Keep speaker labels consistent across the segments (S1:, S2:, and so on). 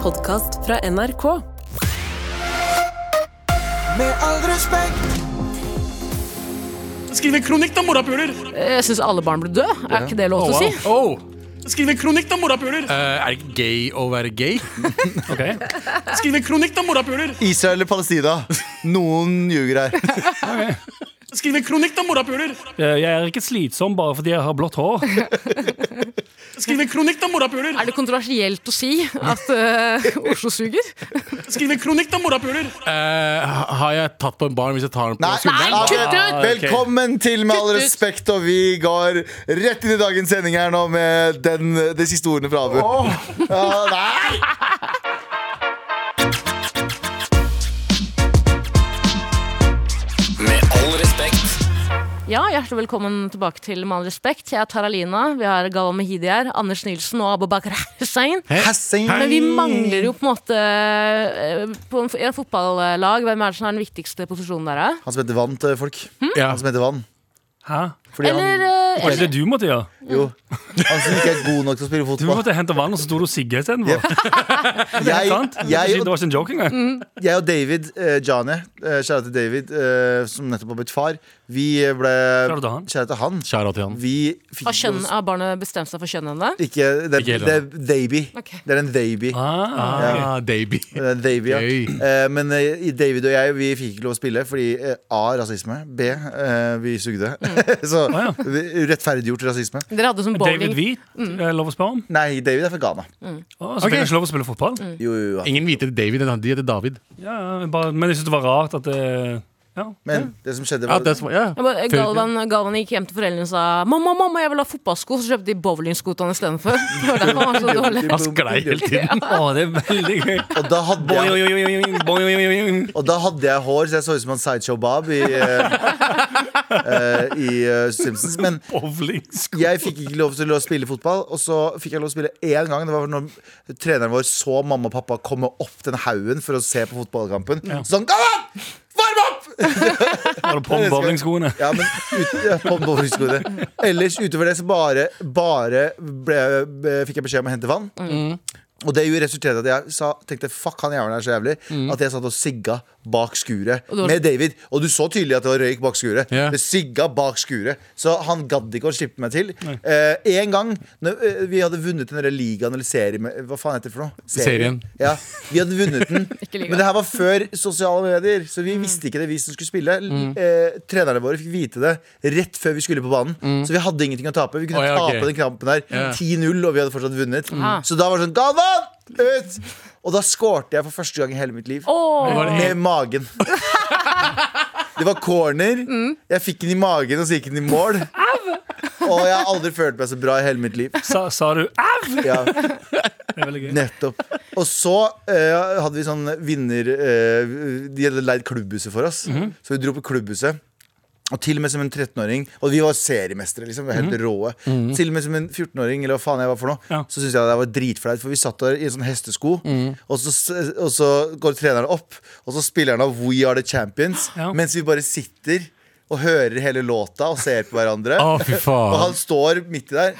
S1: podkast fra NRK.
S2: Med all respekt,
S3: Skriv en kronikk da, morapuler!
S4: Jeg syns alle barn burde dø. Er ikke det lov til å si?
S5: Oh,
S3: Skriv en kronikk da, morapuler!
S5: eh, er det gay å være gay?
S3: Skriv en kronikk da, morapuler!
S6: Israel eller Palestina? Noen ljuger her.
S3: Skriv en kronikk da, morapuler!
S7: Eh, Jeg er ikke slitsom bare fordi jeg har blått hår.
S3: Skriv en kronikk da, morapuler!
S4: Er det kontroversielt å si at eh, Oslo suger?
S3: Skriv en kronikk da, morapuler!
S5: Eh, ha- har jeg tatt på en barn hvis jeg tar den på
S6: Nei,
S5: skulderen?
S4: Nei, kutt
S7: Ah,
S6: Ja,
S4: ut!
S6: ok. Velkommen til Med all
S4: Kutt ut.
S6: respekt, og vi går rett inn i dagens sending her nå med den, de siste ordene fra Abu. Ja, nei!
S4: Ja, Hjertelig velkommen tilbake til Med all respekt. Jeg er Taralina. Vi har Galla Mehidi her. Anders Nilsen og Abubakar Hussein.
S6: Hassing.
S4: Men vi mangler jo på en måte eh, på en, I en fotballag, hvem er det som har den viktigste posisjonen der? eh?
S6: Han som heter Vann til folk.
S5: Ja.
S6: Han som heter Vann.
S7: Hæ?
S6: Fordi
S4: Hm. Eller,
S6: han,
S4: eh,
S7: Var det
S4: eller
S7: det du måtte gjøre?
S6: jo, han som ikke er god nok til å spille
S7: Du
S6: fotball.
S7: måtte hente vann, og så sto du og sigga istedenfor.
S6: Jeg,
S7: Sant?
S6: jeg,
S7: Det var ikke en joke engang.
S6: jeg og David, eh, Jane, eh, kjære til David, eh, som nettopp har blitt far, vi ble
S7: Kjære til han.
S6: Kjære til han.
S5: Kjære til han.
S6: Vi fikk
S4: har, kjønn, har barnet bestemt seg for kjønnet hennes?
S6: Ikke, det,
S5: Ikke helt
S6: det er baby.
S4: Ok.
S6: Det er en baby.
S7: Ah,
S5: Ah, baby.
S6: Det er en baby ja.
S5: Gøy.
S6: Eh, men eh, David og jeg Vi fikk ikke lov å spille fordi eh, A. rasisme. B. Eh, vi sugde. Så
S7: Ah, ja.
S6: vi- rettferdiggjort rasisme.
S4: Dere hadde sånn
S7: David
S4: bowling.
S7: Wheat, er det lov å spørre om?
S6: Nei, David er fra Ghana.
S7: Å, så det er ikke lov å spille fotball?
S4: Mm.
S6: Jo, jo, jo.
S5: Ingen hvite David, men de heter David.
S7: Ja, ja, bare, men jeg synes det var rart at det ja.
S6: Men det som skjedde,
S5: Ja,
S6: var
S5: det er som, ja.
S4: Jeg bare-
S5: Før-
S4: Galvan, Galvan gikk hjem til foreldrene og sa Mamma, mamma, jeg vil ha fotballsko, så kjøpte de bowlingsko til han istedenfor. Det var derfor han var så dårlig.
S5: Han sklei hele tiden.
S7: Å, det er veldig gøy.
S6: Og da hadde
S7: Boing,
S6: jeg,
S7: boing, boing, boing, boing, boing.
S6: og da hadde jeg hår, så jeg så ut som han Sideshow Bob i, eh, eh, i eh, Simpsons. Men
S7: Bowlingsko.
S6: jeg fikk ikke lov til å spille fotball, og så fikk jeg lov til å spille én gang. Det var når treneren vår så mamma og pappa komme opp den haugen for å se på fotballkampen. Sånn, kom an! Varm opp!
S7: Har du på med bowlingskoene?
S6: Ja, men ut, ja, på bowlingskole. Ellers utover det så bare, bare ble, ble, fikk jeg beskjed om å hente vann. Og det jo resulterte i at jeg sa, tenkte fuck han jævelen er så jævlig at jeg satt og sigga bak skuret
S4: var-
S6: med David. Og du så tydelig at det var røyk bak skuret.
S5: Ja.
S6: Det sigga bak skuret. Så han gadd ikke å slippe meg til. Eh, en gang når, eh, vi hadde vunnet den der ligaen eller serien med- Hva faen heter det for noe?
S5: Serien.
S6: Ja, Vi hadde vunnet den.
S4: ligaen.
S6: men det her var før sosiale medier, så
S4: Mm.
S6: vi visste ikke det, vi som skulle spille. L- Eh, trenerne våre fikk vite det rett før vi skulle på banen,
S4: Mm.
S6: så vi hadde ingenting å tape. Vi kunne
S5: Å, ja, ok.
S6: tape den kampen her
S5: Ja.
S6: 10-0, og vi hadde fortsatt vunnet.
S4: Ah.
S6: Så da var det sånn Galvan! Ut! Og da skårte jeg for første gang i hele mitt liv.
S4: Åh,
S5: Var det
S6: Med magen. Det var corner.
S4: Mm.
S6: Jeg fikk den i magen, og så gikk den i mål. Og jeg har aldri følt meg så bra i hele mitt liv.
S7: Sa, sa du au?
S6: Ja.
S7: Det er veldig gøy.
S6: Nettopp. Og så eh, hadde vi sånn vinner eh, De hadde leid klubbhuset for oss. Så vi dro på klubbhuset. Og til og med som en 13-åring Og vi var seriemestere. liksom, vi var helt råe Til og med som en 14-åring, eller hva faen jeg var for noe,
S7: Ja.
S6: så syntes jeg det var dritflaut. For vi satt der i en sånn hestesko, og, så, s- og så går treneren opp, og så spiller han av We Are The Champions,
S7: Ja.
S6: mens vi bare sitter og hører hele låta og ser på hverandre.
S5: Å, fy
S6: Og han
S5: faen.
S6: står midt i der.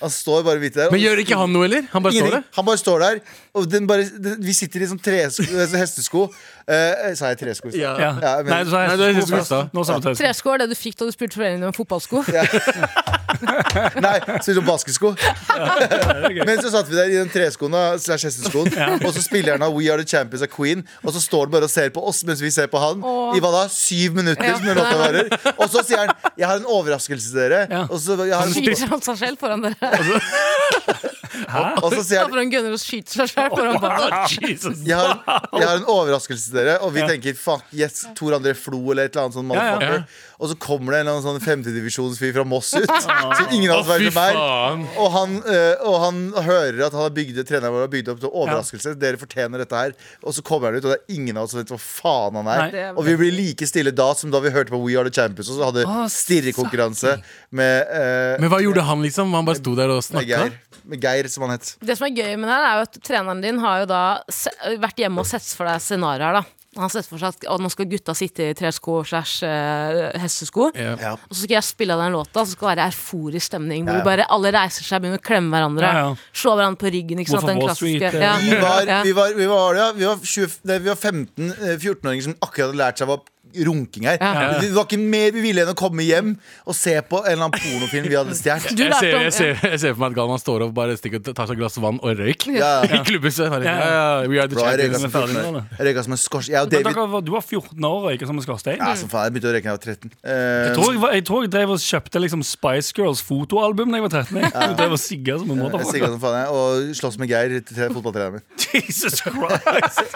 S6: Han står bare midt i der. og
S5: Men gjør ikke han noe, eller? Han bare står
S6: Ingenting.
S5: der.
S6: Han bare står der. Og den bare, den, vi sitter i sånn tresko, altså hestesko. Eh, sa jeg tresko? i stad?
S5: Ja.
S7: Ja.
S6: Ja, men-
S7: Nei, du sa
S5: Nei, det er hestesko i stad.
S7: Nå sa du tøys.
S4: Tresko er det du fikk da du spurte foreldrene om fotballsko.
S6: Nei, så sånn baskesko. Men så satt vi der i den treskoen da, slash hesteskoen, og så spiller han av We Are The Champions av Queen, og så står han bare og ser på oss mens vi ser på han
S4: Åh.
S6: i hva da, syv minutter, som den låta varer. Og så sier han 'Jeg har en overraskelse til dere'.
S7: Ja.
S6: Og, så, jeg har en,
S4: Skyter han seg selv foran dere?
S6: og så sier han
S4: Hvorfor han gunner og skyter seg selv foran barna?
S7: Jesus.
S6: jeg har, jeg har en overraskelse til dere, og vi tenker fuck yes, Tor André Flo eller et eller annet sånn motherfucker.
S5: Ja,
S6: Og så kommer det en eller annen sånn femtedivisjonsfyr fra Moss ut, som ingen
S5: Ah. Å,
S6: av oss
S5: fy
S6: vet hvem er.
S5: faen.
S6: Og han, eh, og han hører at han har bygd, treneren vår har bygd opp til overraskelse. Dere fortjener dette her. Og så kommer han ut, og det er ingen av oss som vet hva faen han er.
S4: Nei.
S6: Og vi blir like stille da som da vi hørte på We Are The Champions, og så hadde stirrekonkurranse med, eh,
S5: Men hva gjorde han, liksom? Han bare sto der og
S6: med
S5: snakka?
S6: Geir. Med Geir, som han het.
S4: Det som er gøy med det her, er jo at treneren din har jo da se vært hjemme og sett for deg scenarioer, da. Han ser for seg at å, nå skal gutta sitte i tresko slash eh, hestesko.
S5: Ja.
S6: Ja.
S4: Og så skal jeg spille av den låta, så skal det være euforisk stemning. Hvor
S6: Ja, ja.
S4: bare alle reiser seg, begynner å klemme hverandre.
S7: Ja, ja.
S4: Slå hverandre på ryggen. Ikke
S7: Wolf
S4: sant?
S7: of
S4: Den
S7: Wall Street,
S4: klassiske.
S7: eh,
S4: Ja.
S6: Vi var,
S4: Ja.
S6: vi var, vi var, ja, vi var, 20, nei, vi var 15 eh, 14-åringer som akkurat hadde lært seg hva runking er.
S4: Ja.
S6: Det var ikke mer vi ville enn å komme hjem og se på en eller annen pornofilm vi hadde stjålet.
S4: Du
S5: Jeg ser,
S4: lærte om
S5: jeg, ser, jeg ser for meg at Galvan står opp bare stikker, tar seg et glass vann og røyk.
S6: Ja, ja.
S5: I klubbhuset. bare,
S7: Ja,
S5: Ja,
S7: ja.
S5: ja, we are the
S6: Bro, jeg
S5: champions.
S6: røyka som
S7: er ferdig
S6: 14-åring.
S7: nå,
S6: Jeg røyka som en skorstein. Jeg og
S7: Men
S6: David
S7: dere var, du var 14 år og røyka som en skorstein.
S6: ja, som faen, Jeg begynte å røyke da jeg var 13.
S7: Jeg
S6: Eh,
S7: tror jeg, var, jeg tror jeg drev og kjøpte liksom Spice Girls fotoalbum da jeg var 13. Jeg Jeg drev og sigga som en
S6: jeg er
S7: motherfucker.
S6: sikker som faen jeg, Og slåss med Geir, til- til fotballtreneren min.
S7: Jesus Christ!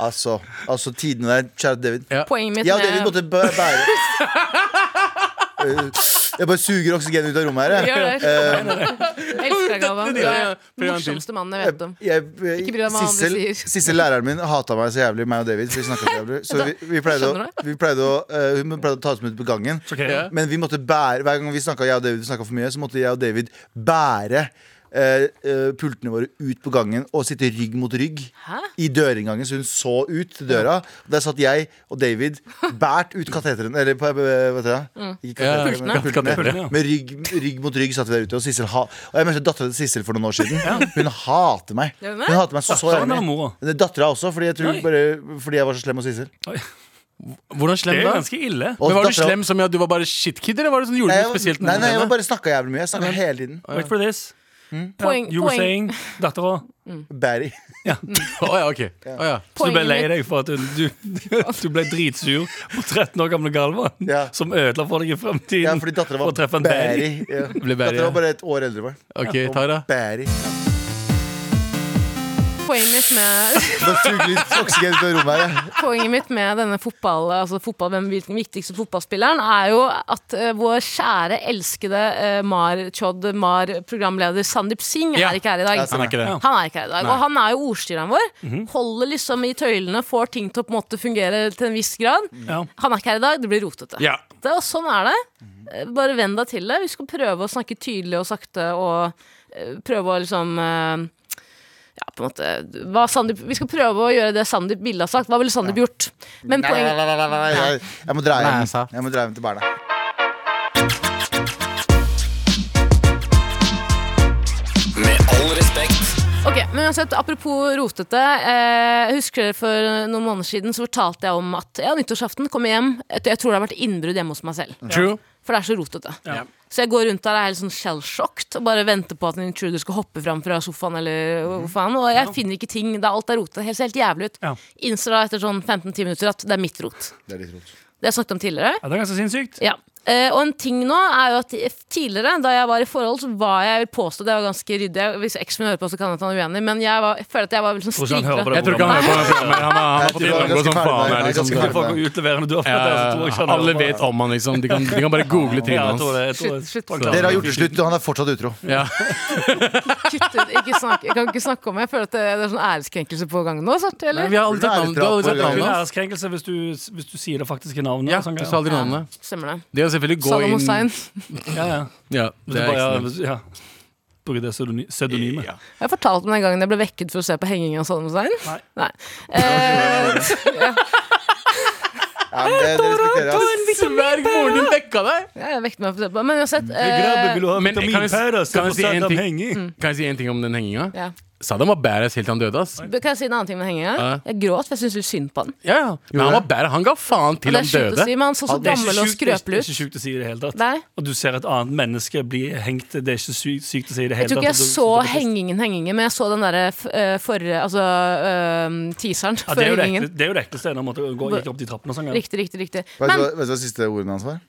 S6: Altså, altså tidene der. Kjære David.
S5: Ja.
S4: Poenget mitt
S6: Jeg og David
S4: med
S6: måtte bæ- bære Eh, Jeg bare suger oksygenet ut av rommet her. jeg.
S4: Gjør det.
S6: Eh,
S4: Elsker deg, Galvan. Du
S5: Ja, ja.
S4: er
S5: Prøv
S4: den
S5: en til.
S4: morsomste mannen jeg
S6: Jeg,
S4: vet om.
S6: jeg,
S4: Ikke bry deg om hva andre
S6: Sissel,
S4: sier.
S6: Sissel, læreren min, hata meg så jævlig, meg og David. For vi snakket så jævlig Så vi, vi pleide å,
S4: Skjønner
S6: vi pleide å, eh, hun pleide å ta oss med ut på gangen.
S7: Ok, ja.
S6: Men vi måtte bære hver gang vi snakket, jeg og David snakket for mye, så måtte jeg og David bære eh, eh, pultene våre ut på gangen og sitte rygg mot rygg.
S4: Hæ?
S6: I dørinngangen, så hun så ut til døra. Der satt jeg og David bært ut kateteren. Eller på, eh, hva heter det? Ikke
S5: Ja,
S6: kateteren, men pultene.
S5: pultene.
S7: Pultene, ja.
S6: Med rygg, rygg mot rygg satt vi der ute. Og, Sissel ha og jeg møtte dattera til Sissel for noen år siden. Hun hater meg.
S4: Gjør hun
S6: Hun
S4: det?
S6: hater meg så, så
S7: Datteren eller
S6: jævlig.
S7: mora?
S6: Dattera også, fordi jeg, tror
S7: Oi.
S6: bare, fordi jeg var så slem mot Sissel.
S5: Hvordan
S7: Det
S5: slem
S7: er
S5: da?
S7: ganske ille.
S6: Og
S5: Men Var du
S6: datteren-
S5: slem som i at du var bare shitkid, eller var det sånn, gjorde
S6: Nei,
S5: du noe
S6: jeg,
S5: spesielt?
S6: nei,
S5: mot
S6: nei, jeg
S5: henne?
S6: var bare snakka jævlig mye. Jeg snakka hele tiden.
S7: Wait for this.
S5: Mm.
S4: Poeng,
S7: You were
S4: poeng,
S7: saying Dattera.
S6: Barry. Mm.
S5: Å ja, ok. Å, ja.
S7: Så du ble
S4: Poenget
S7: lei
S4: mitt-
S7: deg for at du, du, du ble dritsur på 13 år gamle Galvan,
S6: Ja.
S7: som ødela for deg i fremtiden
S6: Ja, fordi dattera
S7: for å treffe
S6: var
S7: en daddy.
S6: Barry. Ja.
S5: Ble Barry,
S6: Dattera var bare et år eldre. Bare.
S5: Ok, Tara.
S6: Barry. Eh,
S4: poenget mitt med
S6: Bare suger litt oksygen ut av rommet her. jeg.
S4: Poenget mitt med denne fotball, altså fotball, hvem er den viktigste fotballspilleren, er jo at eh, vår kjære, elskede eh, Mar Chod Mar-programleder Sandeep Singh
S5: Ja.
S4: er ikke her i dag.
S5: Han er ikke det. Mhm.
S4: Han er ikke her i dag, og han er jo ordstyreren vår. Holder liksom i tøylene, får ting til å på en måte fungere til en viss grad.
S7: Ja.
S4: Han er ikke her i dag, det blir rotete.
S5: Ja.
S4: Det, og sånn er det. Eh, Bare venn deg til det. Vi skal prøve å snakke tydelig og sakte og eh, prøve å liksom eh, ja, på en måte, hva Sandeep, Vi skal prøve å gjøre det Sandeep ville ha sagt. Hva ville Sandeep gjort? Men
S6: Nei, nei,
S4: poenget
S6: nei, nei, nei, Jeg, jeg må dra
S5: Nei, jeg
S6: hjem.
S5: sa.
S6: Jeg må dra hjem til barna.
S4: Ok, men uansett, Apropos rotete. Eh, husker dere For noen måneder siden så fortalte jeg om at ja, nyttårsaften kom jeg hjem. Jeg jeg tror det har vært innbrudd hjemme hos meg selv.
S5: True.
S4: For det er så rotete.
S7: Ja.
S4: Så jeg går rundt der og er helt sånn shell-shocked og bare venter på at en intruder skal hoppe fram fra sofaen. eller hvor faen Og jeg finner ikke ting. Da alt er rotete. Det ser helt jævlig ut.
S7: Mhm. Ja.
S4: Innser da etter sånn 15-10 minutter at det er mitt rot.
S6: Det er litt rot.
S4: Det har jeg snakket om tidligere.
S7: Ja, det er ganske sinnssykt.
S4: Ja. Eh, og en ting nå er jo at tidligere, da jeg var i forhold, så var jeg jeg vil påstå det var ganske ryddig. Hvis eksen min hører på, så kan han være uenig, men jeg, var, jeg føler at jeg var veldig sånn
S7: Tror ikke han hører
S4: strikla.
S7: på det
S5: Jeg tror ikke han hører på det. men Han har, han har
S6: Jeg
S5: fått
S6: tror han er
S5: gjennomgå
S6: ganske
S5: som
S6: ferdig med det. Han er ganske
S5: faen. Er, liksom.
S6: ferdig.
S7: Folk er utleverende du har fått det, så tror jeg ikke
S5: Ja,
S7: han
S5: alle
S7: hører på det.
S5: vet om han, liksom. De kan, de kan bare google
S7: Ja, jeg
S5: trynet
S7: tror
S5: hans.
S7: det. Jeg tror,
S4: Shit, shit.
S7: folk klarer
S6: Dere har
S7: det.
S6: gjort det slutt, og han er fortsatt utro.
S5: Ja.
S4: Kutt ut, ikke snakk, jeg kan ikke snakke om det. Jeg føler at det, det er sånn æreskrenkelse på gang nå. Sant, eller?
S5: Nei, vi har aldri tatt navnet. Du har aldri tatt
S7: Det er
S5: navnet
S7: en
S5: hans.
S7: æreskrenkelse hvis du, hvis du sier det faktiske navnet.
S5: Ja,
S7: og sånn
S5: du
S7: greier.
S5: sa aldri navnet.
S4: Stemmer det.
S5: Det å selvfølgelig gå
S4: Saddam Hussein.
S5: inn
S7: ja, ja.
S5: Ja,
S7: Hvis
S5: det
S7: du
S5: er
S7: bare, ja,
S5: ikke
S7: hvis, ja. Bruker det pseudony- pseudonymet. Ja.
S4: Jeg fortalte om den gangen jeg ble vekket for å se på hengingen av Saddam Hussein.
S7: Nei.
S4: Eh,
S6: Ja, men det, det respekterer jeg. ass.
S5: Sverg, moren din vekka deg!
S4: ja, jeg vekket meg for å se på, men uansett eh,
S7: Grabbe vil du ha
S5: men kan jeg-
S7: vitaminpærer,
S5: kan
S7: se
S5: jeg
S7: på
S5: si en
S7: Saddam
S5: ting? Mm.
S7: Hengi.
S5: Kan jeg si en ting om den henginga?
S4: eh, ja.
S5: Saddam var badass helt til han døde. ass
S4: Kan jeg si en annen ting med hengingen?
S5: Ja.
S4: Jeg gråt, for jeg syntes litt synd på den.
S5: Ja, ja. Men han var badass. Han ga faen til
S4: Det
S5: han
S4: er sjukt å
S5: døde.
S4: si, men han så så
S7: Det er ikke
S4: gammel og
S7: sjukt- det er ikke-
S4: skrøpelig
S7: Det
S4: ut.
S7: er ikke sjukt å si det i det hele tatt.
S4: Nei.
S7: Og du ser et annet menneske bli hengt. Det er ikke sykt, sykt å si det i det hele
S4: Jeg tror
S7: tatt.
S4: ikke jeg
S7: at du-
S4: så
S7: du-
S4: hengingen, hengingen, men jeg så den derre f- eh, forrige Altså eh, teaseren
S7: Ja,
S4: for
S7: det er jo det
S4: hengingen.
S7: ekle- det er jo det ekleste. Når man måtte gå gikk opp de trappene og sånn. ja.
S4: Riktig, riktig, riktig.
S6: Vet du
S4: Men
S6: hva- vet du hva siste ordene hans var?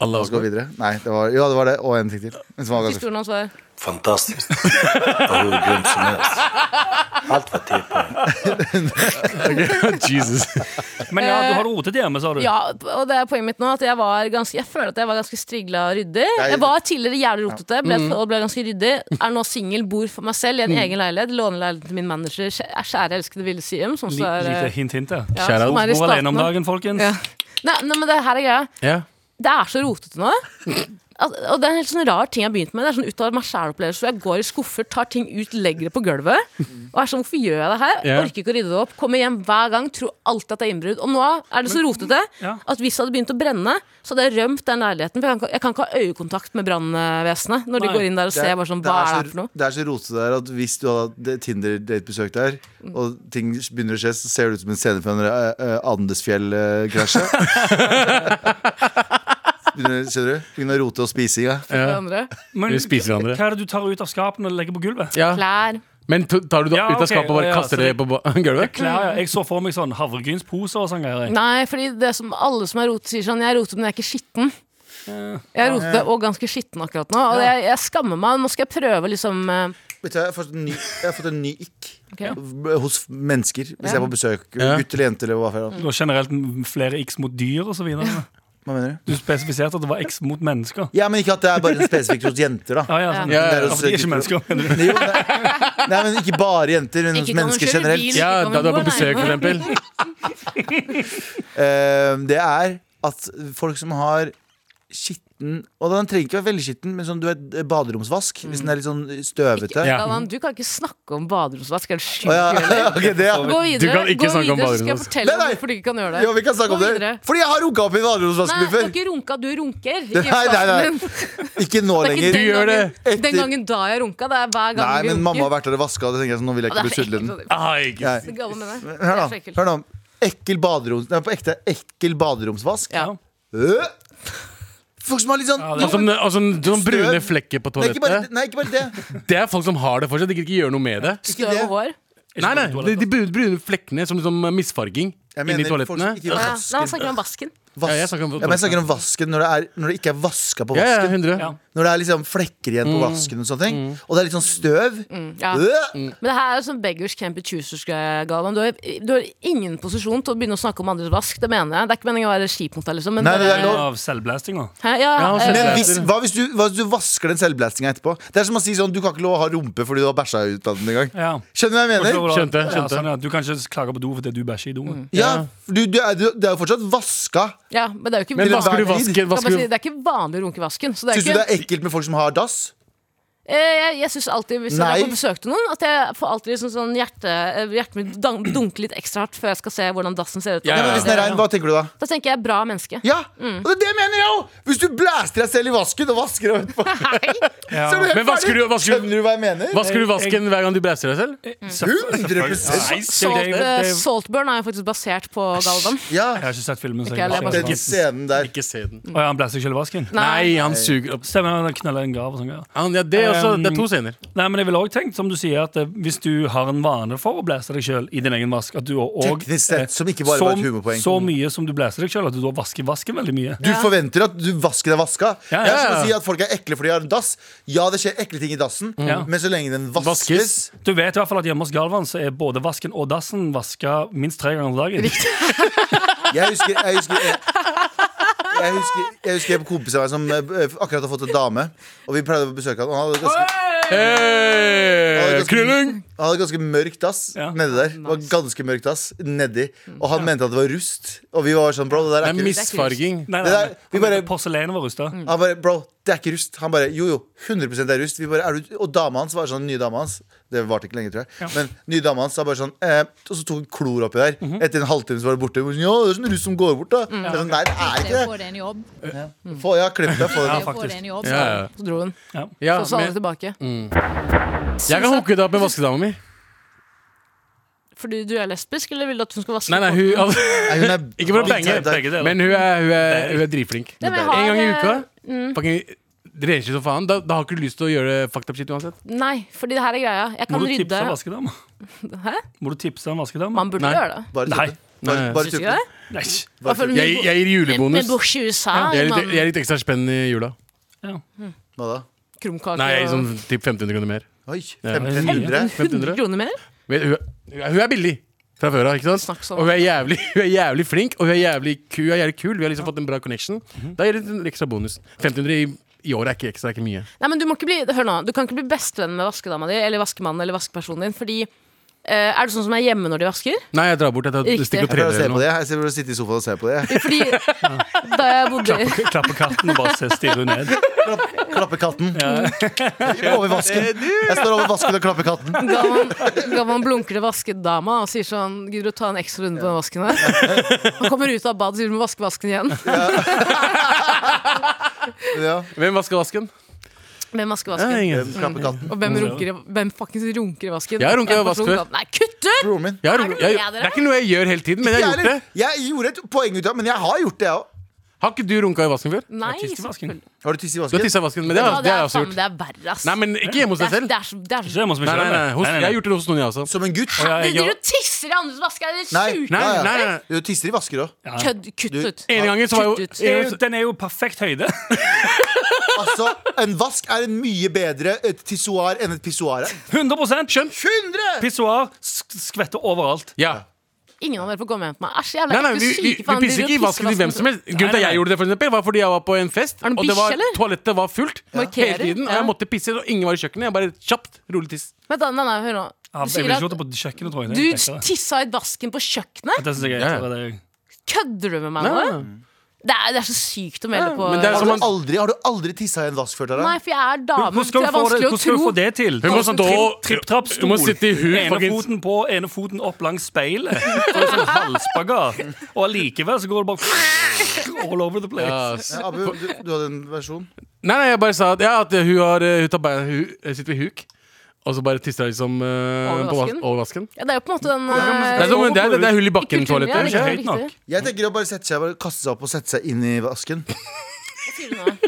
S5: Allah
S6: La oss gå videre. Nei, det var, ja, det var det. Og en ting til. Men som var ganske-
S4: historien hans var
S1: Fantastisk. Det har jo glemt som helst. Alt var ti poeng.
S5: Jesus.
S7: Men ja, du har det rotet hjemme, sa du.
S4: Eh, Ja, og det er poenget mitt nå. At jeg var ganske Jeg føler at jeg var ganske strigla og ryddig.
S6: Jeg-
S4: Jeg var tidligere jævlig rotete ble, og ble ganske ryddig. Er nå singel, bor for meg selv i en egen leilighet. Låner leiligheten til min manager, kjæ- kjære elskede Ville Siem, som
S7: Li-
S4: så er
S7: Lite
S4: eh,
S7: hint, hint. Ja.
S4: ja, som
S5: Shout out.
S4: er i
S7: Mor alene om
S4: staten nå.
S7: dagen, folkens.
S4: Ja. Nei, nei, men det her er greia.
S5: Ja.
S4: Det er så rotete nå. al- og det er en helt sånn rar ting jeg har begynt med. Det er sånn ut av meg sjæl-opplevelse. hvor Jeg går i skuffer, tar ting ut, legger det på gulvet. Og er sånn, hvorfor gjør jeg det her?
S7: Ja.
S4: Orker ikke å rydde det opp. Kommer hjem hver gang, tror alltid at det er innbrudd. Og nå er det så rotete
S7: ja.
S4: at hvis det hadde begynt å brenne, så hadde jeg rømt den leiligheten. For jeg kan, ikke- jeg kan ikke ha øyekontakt med brannvesenet når de
S7: Nei.
S4: går inn der og ser bare sånn, hva er det her for noe?
S6: så, det er så rotete der at hvis du hadde hatt det Tinder-datebesøk der, og ting begynner å skje, så ser det ut som en scene fra en uh, Andesfjell-krasjet. Skjønner du? Begynner å rote og spising. Ja.
S4: Det andre.
S7: Men
S5: Vi spiser hverandre.
S7: hva er det du tar ut av skapene og legger på gulvet?
S5: Ja.
S4: Klær.
S5: Men to- tar du det
S7: Ja,
S5: ut av
S7: ok,
S5: skapet og bare
S7: ja,
S5: kaster
S7: så
S5: det på ba- gulvet?
S7: Klær, ja. Jeg så for meg sånn havregrynsposer og sånn greier. jeg.
S4: Nei, fordi det som alle som har rotet sier sånn Jeg roter, men jeg er ikke skitten. Jeg er rotete og ganske skitten akkurat nå, og jeg, jeg skammer meg. Nå skal jeg prøve liksom eh,
S6: Vet du, hva, jeg, har fått en ny, jeg har fått en ny ikk
S4: Ok.
S6: hos mennesker. Hvis
S4: Ja. Mm.
S6: jeg er på besøk.
S5: Ja.
S6: Gutt eller jente eller hva faen.
S7: Det var generelt flere x mot dyr osv.
S6: Hva mener du?
S7: Du spesifiserte at det var x mot mennesker.
S6: Ja, men ikke at det er bare spesifikt hos jenter, da.
S7: Ja, ja, sånn.
S5: Ja,
S6: Det er
S7: Ja,
S6: hos
S7: for de er ikke
S6: gutter.
S7: mennesker, mener du?
S6: Nei, jo, nei. nei, men ikke bare jenter, men hos
S4: Ikke kan man
S6: mennesker
S4: kjøre
S6: generelt.
S4: bil, ikke
S5: Ja,
S4: kan
S5: da
S4: man
S5: du er
S4: gå
S5: på besøk, for
S4: alene.
S5: eksempel.
S6: Eh, Det er at folk som har skitten Og den trenger ikke være veldig skitten, men sånn, du vet, baderomsvask. Hvis den er litt sånn støvete.
S5: Ja.
S4: Galvan, du kan ikke snakke om baderomsvask. Er du sjuk?
S6: Å, ja. ok, det, ja.
S4: Gå videre,
S5: kan ikke
S4: gå
S5: snakke
S4: videre så skal jeg
S5: om baderomsvask.
S4: fortelle
S6: Nei, nei.
S4: deg hvorfor du ikke kan gjøre det.
S6: Jo, vi kan snakke
S4: Gå
S6: om det.
S4: videre.
S6: Fordi jeg har runka opp i
S4: Nei,
S6: baderomsvasken
S4: du har
S6: min før.
S4: ikke runka, du runker. i
S6: Nei, nei, nei.
S4: fasen din.
S6: Ikke nå
S4: Det er ikke
S6: lenger.
S5: Du gjør det.
S4: gangen-
S6: Etter-
S4: Den gangen da jeg runka, det er hver gang
S6: Nei,
S4: vi
S6: men
S4: runker.
S6: mamma har vært der og vaska, og det tenker jeg sånn, nå vil jeg
S4: Ja,
S6: ikke
S4: det
S6: bli
S4: er
S6: sulten.
S4: ekkelt.
S5: Ai, gud.
S6: Nei.
S4: Det gale med det. Det
S6: Hør
S4: er sånn.
S6: nå.
S4: så ekkelt.
S6: Hør nå. Ekkel baderoms... Nei, på ekte ekkel baderomsvask.
S4: Ja.
S6: Øh! Folk som har litt sånn
S7: Ja, det
S5: Og sånn, og sånn, sånn brune
S6: Støv.
S5: flekker på
S6: Nei, ikke bare,
S5: toalettet.
S6: nei, ikke bare det.
S5: Det er folk som har det fortsatt. De gidder ikke gjøre noe med det.
S4: Støv
S6: det.
S4: og hår.
S5: Nei, nei, De, de brune, brune flekkene som liksom misfarging
S6: Jeg
S5: inni
S6: mener folk som
S5: toalettene.
S6: ikke
S4: Ja, ja. Nei, han
S6: vasker.
S4: snakker om vasken.
S6: Vask.
S5: Ja,
S6: Ja,
S5: jeg snakker om
S6: men jeg snakker om vasken når det, er, når det ikke er vaska på
S5: Ja, Mm. ja,
S6: vasken.
S5: 100
S7: Ja.
S6: Når det er liksom flekker igjen på vasken og sånne ting. Og det er litt sånn støv.
S4: Mm, Ja.
S6: Øh!
S5: Mm.
S4: Men det her er jo sånn beggars can't be choosers Galvan. Du har, du har ingen posisjon til å begynne å snakke om andres vask. Det mener jeg. Det er ikke meningen å være kjip mot deg, liksom. Men
S6: Nei, det er lov.
S7: Av selvblastinga.
S4: Hæ? Ja, eh,
S5: Ja, han
S6: Men
S5: synes det.
S6: hvis, hva, hvis du, hva hvis du vasker den selvblastinga etterpå? Det er som å si sånn, du kan ikke lov å ha rumpe fordi du har bæsja ut av den en gang.
S7: Ja.
S6: Skjønner du hva jeg mener?
S5: Skjønte,
S7: Ja,
S5: skjønte.
S7: sånn, ja. Du kan ikke klage på do fordi du bæsjer i doen.
S6: Ja, du, du, er, du, det er jo fortsatt vaska.
S4: ja, men det er jo ikke
S5: Men
S6: Til
S4: vanlig.
S5: vasker du
S6: enhver tid.
S5: vasken?
S4: Kan man
S5: Vasker
S4: si,
S5: du
S4: det er ikke vanlig å runke i vasken. Så det er
S6: Syns du
S4: ikke,
S6: det er ekkelt med folk som har dass?
S4: Eh, jeg jeg syns alltid, hvis jeg
S6: Nei.
S4: er på besøk til noen, at jeg får alltid liksom sånn hjerte, eh, hjertet mitt dan- dunker litt ekstra hardt før jeg skal se hvordan dassen ser ut.
S5: Ja,
S6: Ja, men
S5: ja,
S6: hvis den er rein, hva tenker du da?
S4: Da tenker jeg bra menneske.
S6: Ja,
S4: Mm.
S6: og det er det mener jeg òg! Hvis du blæster deg selv i vasken og vasker deg etterpå, så er du helt
S5: Men vasker
S6: ferdig.
S5: du- vasker du-
S6: Skjønner du hva jeg mener?
S5: Vasker du vasken hver gang du blæser deg selv?
S6: 100
S7: Nei, det er jo
S4: Salt,
S7: det- det er
S4: eh,
S7: jo-
S4: Saltburn er jo faktisk basert på Galvan.
S6: Ja,
S7: Jeg har ikke sett filmen. Så
S4: Ikke heller,
S7: jeg
S4: jeg
S7: ser
S4: bare
S6: den
S7: ikke.
S6: scenen der.
S5: Ikke se den.
S7: Å, ja, han blæster ikke i vasken?
S5: Nei, han suger opp
S7: Stemmer, han kneller en grav og sånn greier.
S5: han, ja, det, er også, det er to scener.
S7: Nei, men jeg ville også tenkt, som du sier, at eh, hvis du har en vane for å blæse deg sjøl i din egen vask at du og,
S6: Teknisk sett, som ikke bare var et humorpoeng.
S7: så mye som du blæser deg sjøl, at du da vasker vasken veldig mye.
S6: Du forventer at du vasker deg vaska.
S7: Ja, ja,
S6: Det er som
S5: ja.
S6: å si at folk er ekle fordi de har en dass. Ja, det skjer ekle ting i dassen,
S7: Ja.
S6: men så lenge den vaskes,
S5: Vaskes.
S7: Du vet i hvert fall at hjemme hos Galvan så er både vasken og dassen vaska minst tre ganger om dagen.
S6: Jeg husker Jeg husker jeg, jeg husker, jeg husker en kompis av meg som eh, akkurat har fått en dame. Og vi pleide å besøke han. Og han hadde ganske,
S5: Hey, krulling!
S6: han hadde ganske mørk dass
S7: Ja.
S6: nedi der. Det var ganske mørk dass nedi Og han mente at det var rust. Og vi var sånn, bro, det der er
S5: Det er
S6: ikke rust.
S5: misfarging.
S7: Nei,
S6: Det
S7: nei,
S6: der- vi
S7: nei,
S6: bare- Mm.
S7: Porselenet var rusta.
S6: Han bare, bro, det er ikke rust. Han bare, jo jo, 100 det er rust. Vi bare, er du, og dama hans var sånn, nye dama hans Det varte ikke lenge, tror jeg. Men nye dama hans var bare sånn eh, Og så tok hun klor oppi der. Etter en halvtime så var det borte. Hun, ja, det er sånn rust som går bort, da. Jeg er sånn, Nei, det er
S8: Se
S6: ikke
S8: på deg en jobb.
S6: det. Få, ja, klipp deg. Få
S8: Se
S6: det.
S8: på
S7: faktisk.
S8: deg en jobb.
S5: Ja, ja.
S4: Så dro hun.
S5: ja,
S4: Så sa alle
S5: men
S4: tilbake.
S5: jeg kan hooke det opp med vaskedama mi.
S4: Fordi du er lesbisk, eller vil du at hun skal vaske?
S5: Nei, nei,
S4: på-
S5: hun, altså,
S6: Nei, hun er
S5: ikke for å
S6: Nei,
S5: bange,
S6: nei,
S7: Begge deler.
S5: men hun er, hun er, hun er dritflink.
S4: Ja, men jeg
S5: En
S4: har,
S5: gang i uka.
S4: eh,
S5: Fucking renslig som faen. Da, da har ikke du lyst til å gjøre fucked up shit uansett.
S4: Nei, fordi det her er greia. Jeg
S7: Må
S4: kan
S7: du tipse en
S4: rydde.
S7: vaskedame?
S4: Hæ?
S7: Må du tipse en vaskedame?
S4: Man burde
S5: Nei.
S4: gjøre det.
S6: Bare
S7: Nei.
S6: tuppe. Bare,
S5: Nei.
S6: bare
S4: Syns du ikke
S6: tuppe.
S4: det?
S7: Nei.
S6: Bare tuppe.
S4: Men-
S5: Jeg, jeg gir
S4: Med
S5: julebonus.
S4: bors i USA.
S5: Jeg er
S4: man-
S5: litt, jeg er litt ekstra spenn i jula.
S7: Ja.
S6: Hva da?
S4: Krumkake
S5: Nei,
S4: og-
S5: sånn typ 1500 kroner mer.
S6: Oi,
S5: Ja.
S6: 1500?
S4: 100
S5: 1500?
S4: kroner mer?
S5: Men Hun, er- hun er billig fra før av, ikke sant?
S4: Snakk sånn.
S5: Og hun er, jævlig, hun er jævlig flink, og hun er jævlig, ku, hun er jævlig kul. Vi har liksom fått en bra connection. Da gir det en ekstra bonus. 1500 i, i år er ikke ekstra, er ikke mye.
S4: Nei, men du må ikke bli Hør nå, du kan ikke bli bestevenn med vaskedama di eller vaskemannen eller vaskepersonen din, fordi Eh, er det sånn som er hjemme når de vasker?
S5: Nei, jeg drar bort. Jeg tar,
S4: Riktig.
S5: stikker
S6: Jeg prøver å
S5: trener
S6: se på
S5: eller noe.
S6: det. Jeg prøver å sitte i sofaen og se på det.
S4: Fordi da jeg bodde
S7: Klapper, klapper katten og bare ser stirrer ned.
S6: Klappe katten. Over vasken. Jeg står over vasken og klapper katten.
S4: Ga man, ga man blunker til vaskedama og sier sånn Gidder du å ta en ekstra runde på den vasken her? Han kommer ut av badet og sier du må vaske vasken igjen.
S6: Ja.
S5: Hvem vasker vasken?
S4: Hvem vasker
S5: Nei,
S4: vasken?
S5: ingen.
S6: Klapper katten.
S4: Og hvem, runker, i- hvem fuckings runker i vasken?
S5: Jeg runker i
S4: En person
S5: vasken.
S4: kan- Nei, kutt ut!
S6: Broren min.
S5: Jeg
S4: Er
S5: har,
S4: det
S5: jeg,
S4: noe jeg
S5: det
S4: dere
S5: er ikke noe jeg gjør hele tiden, men jeg har gjort det.
S6: Jeg, jeg gjorde et poeng ut av det, men jeg har gjort det, jeg òg.
S5: Har ikke du runka i vasken før?
S4: Nei,
S7: Jeg tisser i vasken.
S4: selvfølgelig.
S6: Har du tiss i
S5: Du har
S6: vasken?
S5: tissa i vasken, men det, har-
S4: Ja,
S5: det
S4: det
S5: har
S4: er
S5: jeg også
S4: faen,
S5: gjort.
S4: det er verre, ass.
S5: Nei, men ikke hjemme hos
S4: det
S5: deg
S4: er,
S5: selv.
S4: det er, så- det er,
S7: Ikke hjemme hos meg
S5: Nei,
S7: selv,
S5: nei, nei,
S7: da.
S5: hos,
S7: Nei, nei, nei.
S5: Jeg har gjort det hos noen, jeg også.
S6: Som en gutt?
S7: Og
S4: det
S7: jeg-
S4: du
S7: jeg-
S4: tisser i andres vask, er det
S6: Nei,
S4: sjukt?
S5: Nei,
S6: Ja, ja.
S5: nei, nei.
S6: Du tisser i vasker òg.
S4: Kødd, kutt
S6: Du-
S4: ut.
S5: En gang så var jo
S4: Kutt ut.
S7: Det er
S5: en
S7: jo-
S5: gang så-
S7: Den er jo perfekt høyde.
S6: Altså, en vask er en mye bedre et tissoar enn et pissoar er.
S7: 100 Skjønt.
S6: 100!
S7: Pissoar sk- skvetter overalt.
S5: Ja.
S4: Ingen av dere får komme hjem til meg. Æsj, jævla
S5: Nei, nei,
S4: ekte
S5: vi, vi,
S4: syke
S5: vi
S4: faen,
S5: pisser
S4: driver
S5: ikke i
S4: og
S5: vasken til
S4: tisser
S5: hvem som helst. Grunnen til at
S7: Nei, nei,
S5: jeg gjorde det, for eksempel, var fordi jeg var på en fest,
S4: Er du
S5: og det
S4: bikkje,
S5: var,
S4: eller?
S5: toalettet var fullt.
S4: Markerer,
S5: Hele tiden,
S4: ja.
S5: Og jeg måtte pisse, og ingen var i kjøkkenet. Jeg bare kjapt, rolig tiss.
S4: Vent da, nei, nei, hør nå.
S7: Ja,
S4: Du
S7: jeg
S4: sier
S7: ville ikke gjort
S4: at
S7: det på kjøkkenet, tror jeg.
S4: du
S7: Det er kjekkere.
S4: tissa i vasken på kjøkkenet?
S7: Det synes jeg er
S5: Ja, ja.
S7: kjekkere, det er-
S4: Kødder du med meg
S5: Nei,
S4: nå?
S5: nei, nei.
S4: Det er, det er så sykt å melde
S5: Ja,
S4: på.
S5: men det er
S6: Har
S5: som
S6: du
S5: man-
S6: aldri, har du aldri tissa i en vask før, Tara?
S4: Nei, for jeg er dame.
S7: Hvordan skal,
S4: Det
S7: du
S4: er
S7: få det,
S4: vanskelig
S7: hvordan
S4: å
S7: skal du få
S4: tro.
S7: det til?
S5: Hun må sånn stå-
S7: Tripp- Tripp-trapp-stol.
S5: Hun må sitte i hu,
S7: Ene
S5: fucking-
S7: foten på, ene foten opp langs speilet. Så det er Sånn halvspagat. Og allikevel så går det bare all over the place.
S5: Ja, s-
S6: Ja, Abu, du, du hadde en versjon.
S5: Nei, nei, jeg bare sa at, ja, at hun, har, eh, hun, tar, bare- hun eh, sitter ved huk, og så bare tisser hun liksom eh,
S4: Over
S5: på vas-
S4: vasken?
S5: over vasken.
S4: Ja, det er jo på en måte den
S5: Det er,
S4: eh,
S5: som, det, er, det er hull
S4: kulturen,
S5: i
S4: ja,
S5: bakken-toalettet.
S4: det er
S7: Høyt nok.
S4: riktig.
S6: Jeg tenker å bare sette seg, bare kaste seg opp og sette seg inn i vasken.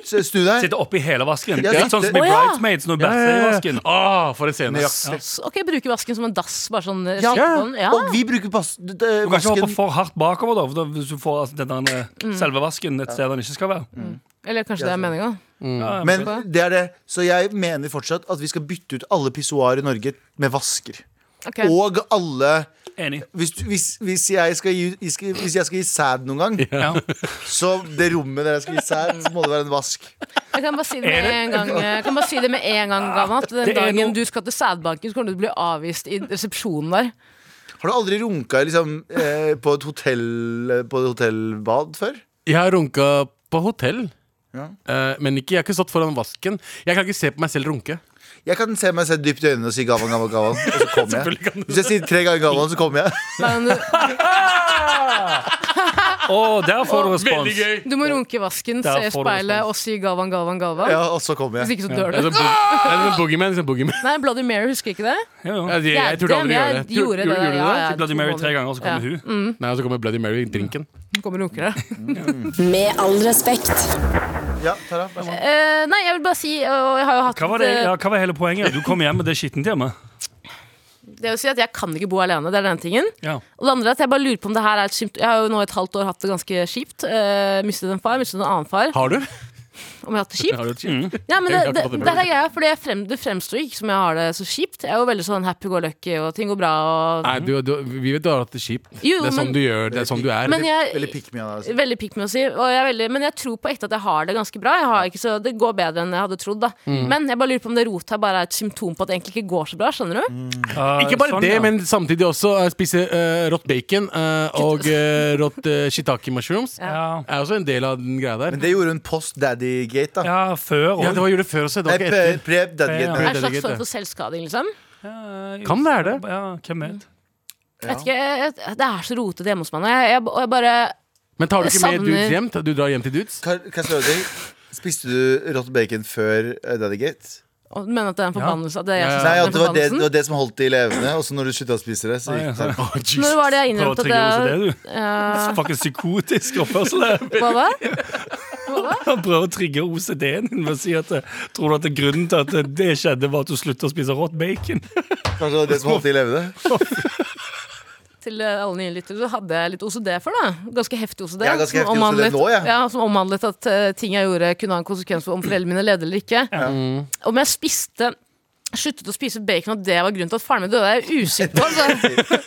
S6: S- Snu deg.
S7: Sitte oppi hele vasken.
S6: Ja,
S7: Litt sånn som i
S4: Å, ja.
S7: Bridesmaids når hun bæsjer i vasken.
S5: Ah, for en scene. ass.
S6: Nøyaktig.
S4: Så- Ok, bruke vasken som en dass, bare sånn eh,
S6: Ja.
S4: slipp på den. Ja.
S6: Og vi bruker pass, d- d-
S7: Du kan ikke hoppe
S6: vasken.
S7: for hardt bakover da, for da hvis du får altså, den der,
S4: Mm.
S7: eh, selve vasken et sted den ikke skal være.
S4: Eller kanskje det er meninga.
S7: Ja,
S6: Men det er det. Så jeg mener fortsatt at vi skal bytte ut alle pissoar i Norge med vasker.
S4: Ok.
S6: Og alle
S7: Enig.
S6: hvis, du- hvis, hvis, jeg skal gi, jeg skal- hvis jeg skal gi sæd noen gang,
S7: Ja.
S6: så det rommet der jeg skal gi sæd, så må det være en vask.
S4: Jeg kan bare si det
S7: Er
S4: med
S7: det-
S4: en gang, jeg kan bare si det med en gang Galvan, at den
S7: Det er
S4: dagen
S7: noe-
S4: du skal til sædbanken, så kommer du til å bli avvist i resepsjonen der.
S6: Har du aldri runka liksom, eh, på, et hotell, på et hotellbad før?
S5: Jeg har runka på hotell.
S6: Ja.
S5: Eh, men ikke, jeg har ikke stått foran vasken. Jeg kan ikke se på meg selv runke.
S6: Jeg kan se meg selv dypt i øynene og si gavan, gavan, gavan, og så kommer jeg. Hvis jeg sier tre ganger gavan, så kommer jeg.
S4: Men du,
S7: Og der får du respons.
S4: du må runke i vasken,
S7: Der
S4: se i
S7: får du
S4: speilet
S7: respons.
S4: og si Galvan, Galvan, Galvan.
S6: Ja, og så kommer
S4: Hvis
S6: jeg.
S4: ikke så dør
S5: Det er
S4: du.
S5: sånn bo- det er sånn boogeyman. Sånn boogeyman.
S4: Nei, Bloody Mary, husker ikke det?
S7: Ja, ja.
S5: Jeg, jeg, jeg turte aldri å gjøre det. Tur-
S4: Gjorde det,
S5: gjorde du
S4: ja, ja,
S7: Typ Bloody
S4: to
S7: Mary
S4: måneder.
S7: tre ganger, så kommer
S4: Ja. Mm.
S7: hun.
S5: Nei, og så kommer Bloody Mary i drinken.
S4: Kommer runkere.
S8: Med all respekt.
S6: Ja, Tara, vær så god.
S4: Eh, nei, jeg vil bare si, og jeg har jo hatt
S7: Hva var, det,
S4: eh,
S7: ja, hva var hele poenget? Du kom hjem med det skittent hjemme.
S4: Det vil si at jeg kan ikke bo alene, det er den ene tingen.
S7: Ja.
S4: Og det andre er at jeg bare lurer på om det her er et symt Jeg har jo nå et halvt år hatt det ganske kjipt. Eh, mistet en far, mistet en annen far.
S5: Har du?
S4: Om jeg har hatt det kjipt?
S5: Har du et kjipt?
S4: Ja, men det,
S5: Jeg
S4: det,
S5: klarte å
S4: det
S5: ta det
S4: er greia, for det, frem, det fremstår ikke som jeg har det så kjipt. Jeg er jo veldig sånn happy go lucky, og ting går bra. Og,
S5: Nei, du, du, vi vet du har hatt det kjipt. Det
S4: Jo,
S5: er sånn
S4: men-
S5: du gjør. Det er sånn du er.
S4: men jeg
S6: Veldig pick me av deg. altså.
S4: Veldig pikk med å si. Og jeg er veldig, men jeg tror på ekte at jeg har det ganske bra. Jeg har ikke så, det går bedre enn jeg hadde trodd. Da.
S5: Mm.
S4: Men jeg bare lurer på om det rotet her bare er et symptom på at det egentlig ikke går så bra. Skjønner
S5: Mm.
S4: du?
S7: Eh,
S5: Ikke bare
S7: sånn,
S5: det,
S7: ja.
S5: men samtidig også eh, spise eh, rått bacon eh, og eh, rått eh, shiitake mushrooms.
S7: ja.
S5: Er også en del av den greia der.
S6: Men det gjorde hun post daddy-gate, da.
S7: ja, før og
S5: Ja, det var gjorde det før også. Det
S6: Nei, eh,
S5: var ikke etter.
S6: pre- pre
S4: Det
S6: daddy-gate.
S4: er en slags
S5: det er
S4: form
S5: greit, det.
S4: for selvskading, liksom.
S7: Ja,
S5: Kan være det.
S7: Ja, hvem vet?
S4: Jeg vet ikke, jeg, jeg- det er så rotete hjemme hos meg nå. Jeg, jeg, og jeg bare
S5: Men tar du ikke med
S4: Savner-
S5: dudes hjem? Du drar hjem til dudes?
S6: Kar- Kan jeg spørre deg, spiste du rått bacon før eh, daddy-gate?
S4: og mener at det er en forbannelse. At det er jeg som
S6: Nei,
S4: er
S6: at
S4: den
S6: det var det, det
S4: forbannelsen.
S6: var det som holdt de levende, og så når du slutta å spise det, så gikk det.
S5: Oh, Jesus.
S4: Når var det jeg
S7: Prøv å
S4: innrømte
S7: trigge henne
S4: at det
S7: til det, du.
S4: eh,
S7: Fucking psykotisk oppførsel. det.
S4: Hva da?
S7: Han prøver å trigge OCD-en din ved å si at eh, Tror du at det grunnen til at det skjedde, var at du sluttet å spise rått bacon?
S6: Kanskje det var det som holdt de levende?
S4: til eh, alle nye lyttere, så hadde jeg litt OCD før, da. Ganske heftig OCD.
S6: Jeg er ganske
S4: som
S6: heftig OCD
S4: omhandlet-
S6: nå, jeg.
S4: Ja, som omhandlet at eh, ting jeg gjorde, kunne ha en konsekvens for om foreldrene mine levde eller ikke. Om jeg spiste sluttet å spise bacon, og det var grunnen til at faren min døde, er jeg usikker på. Altså. Jeg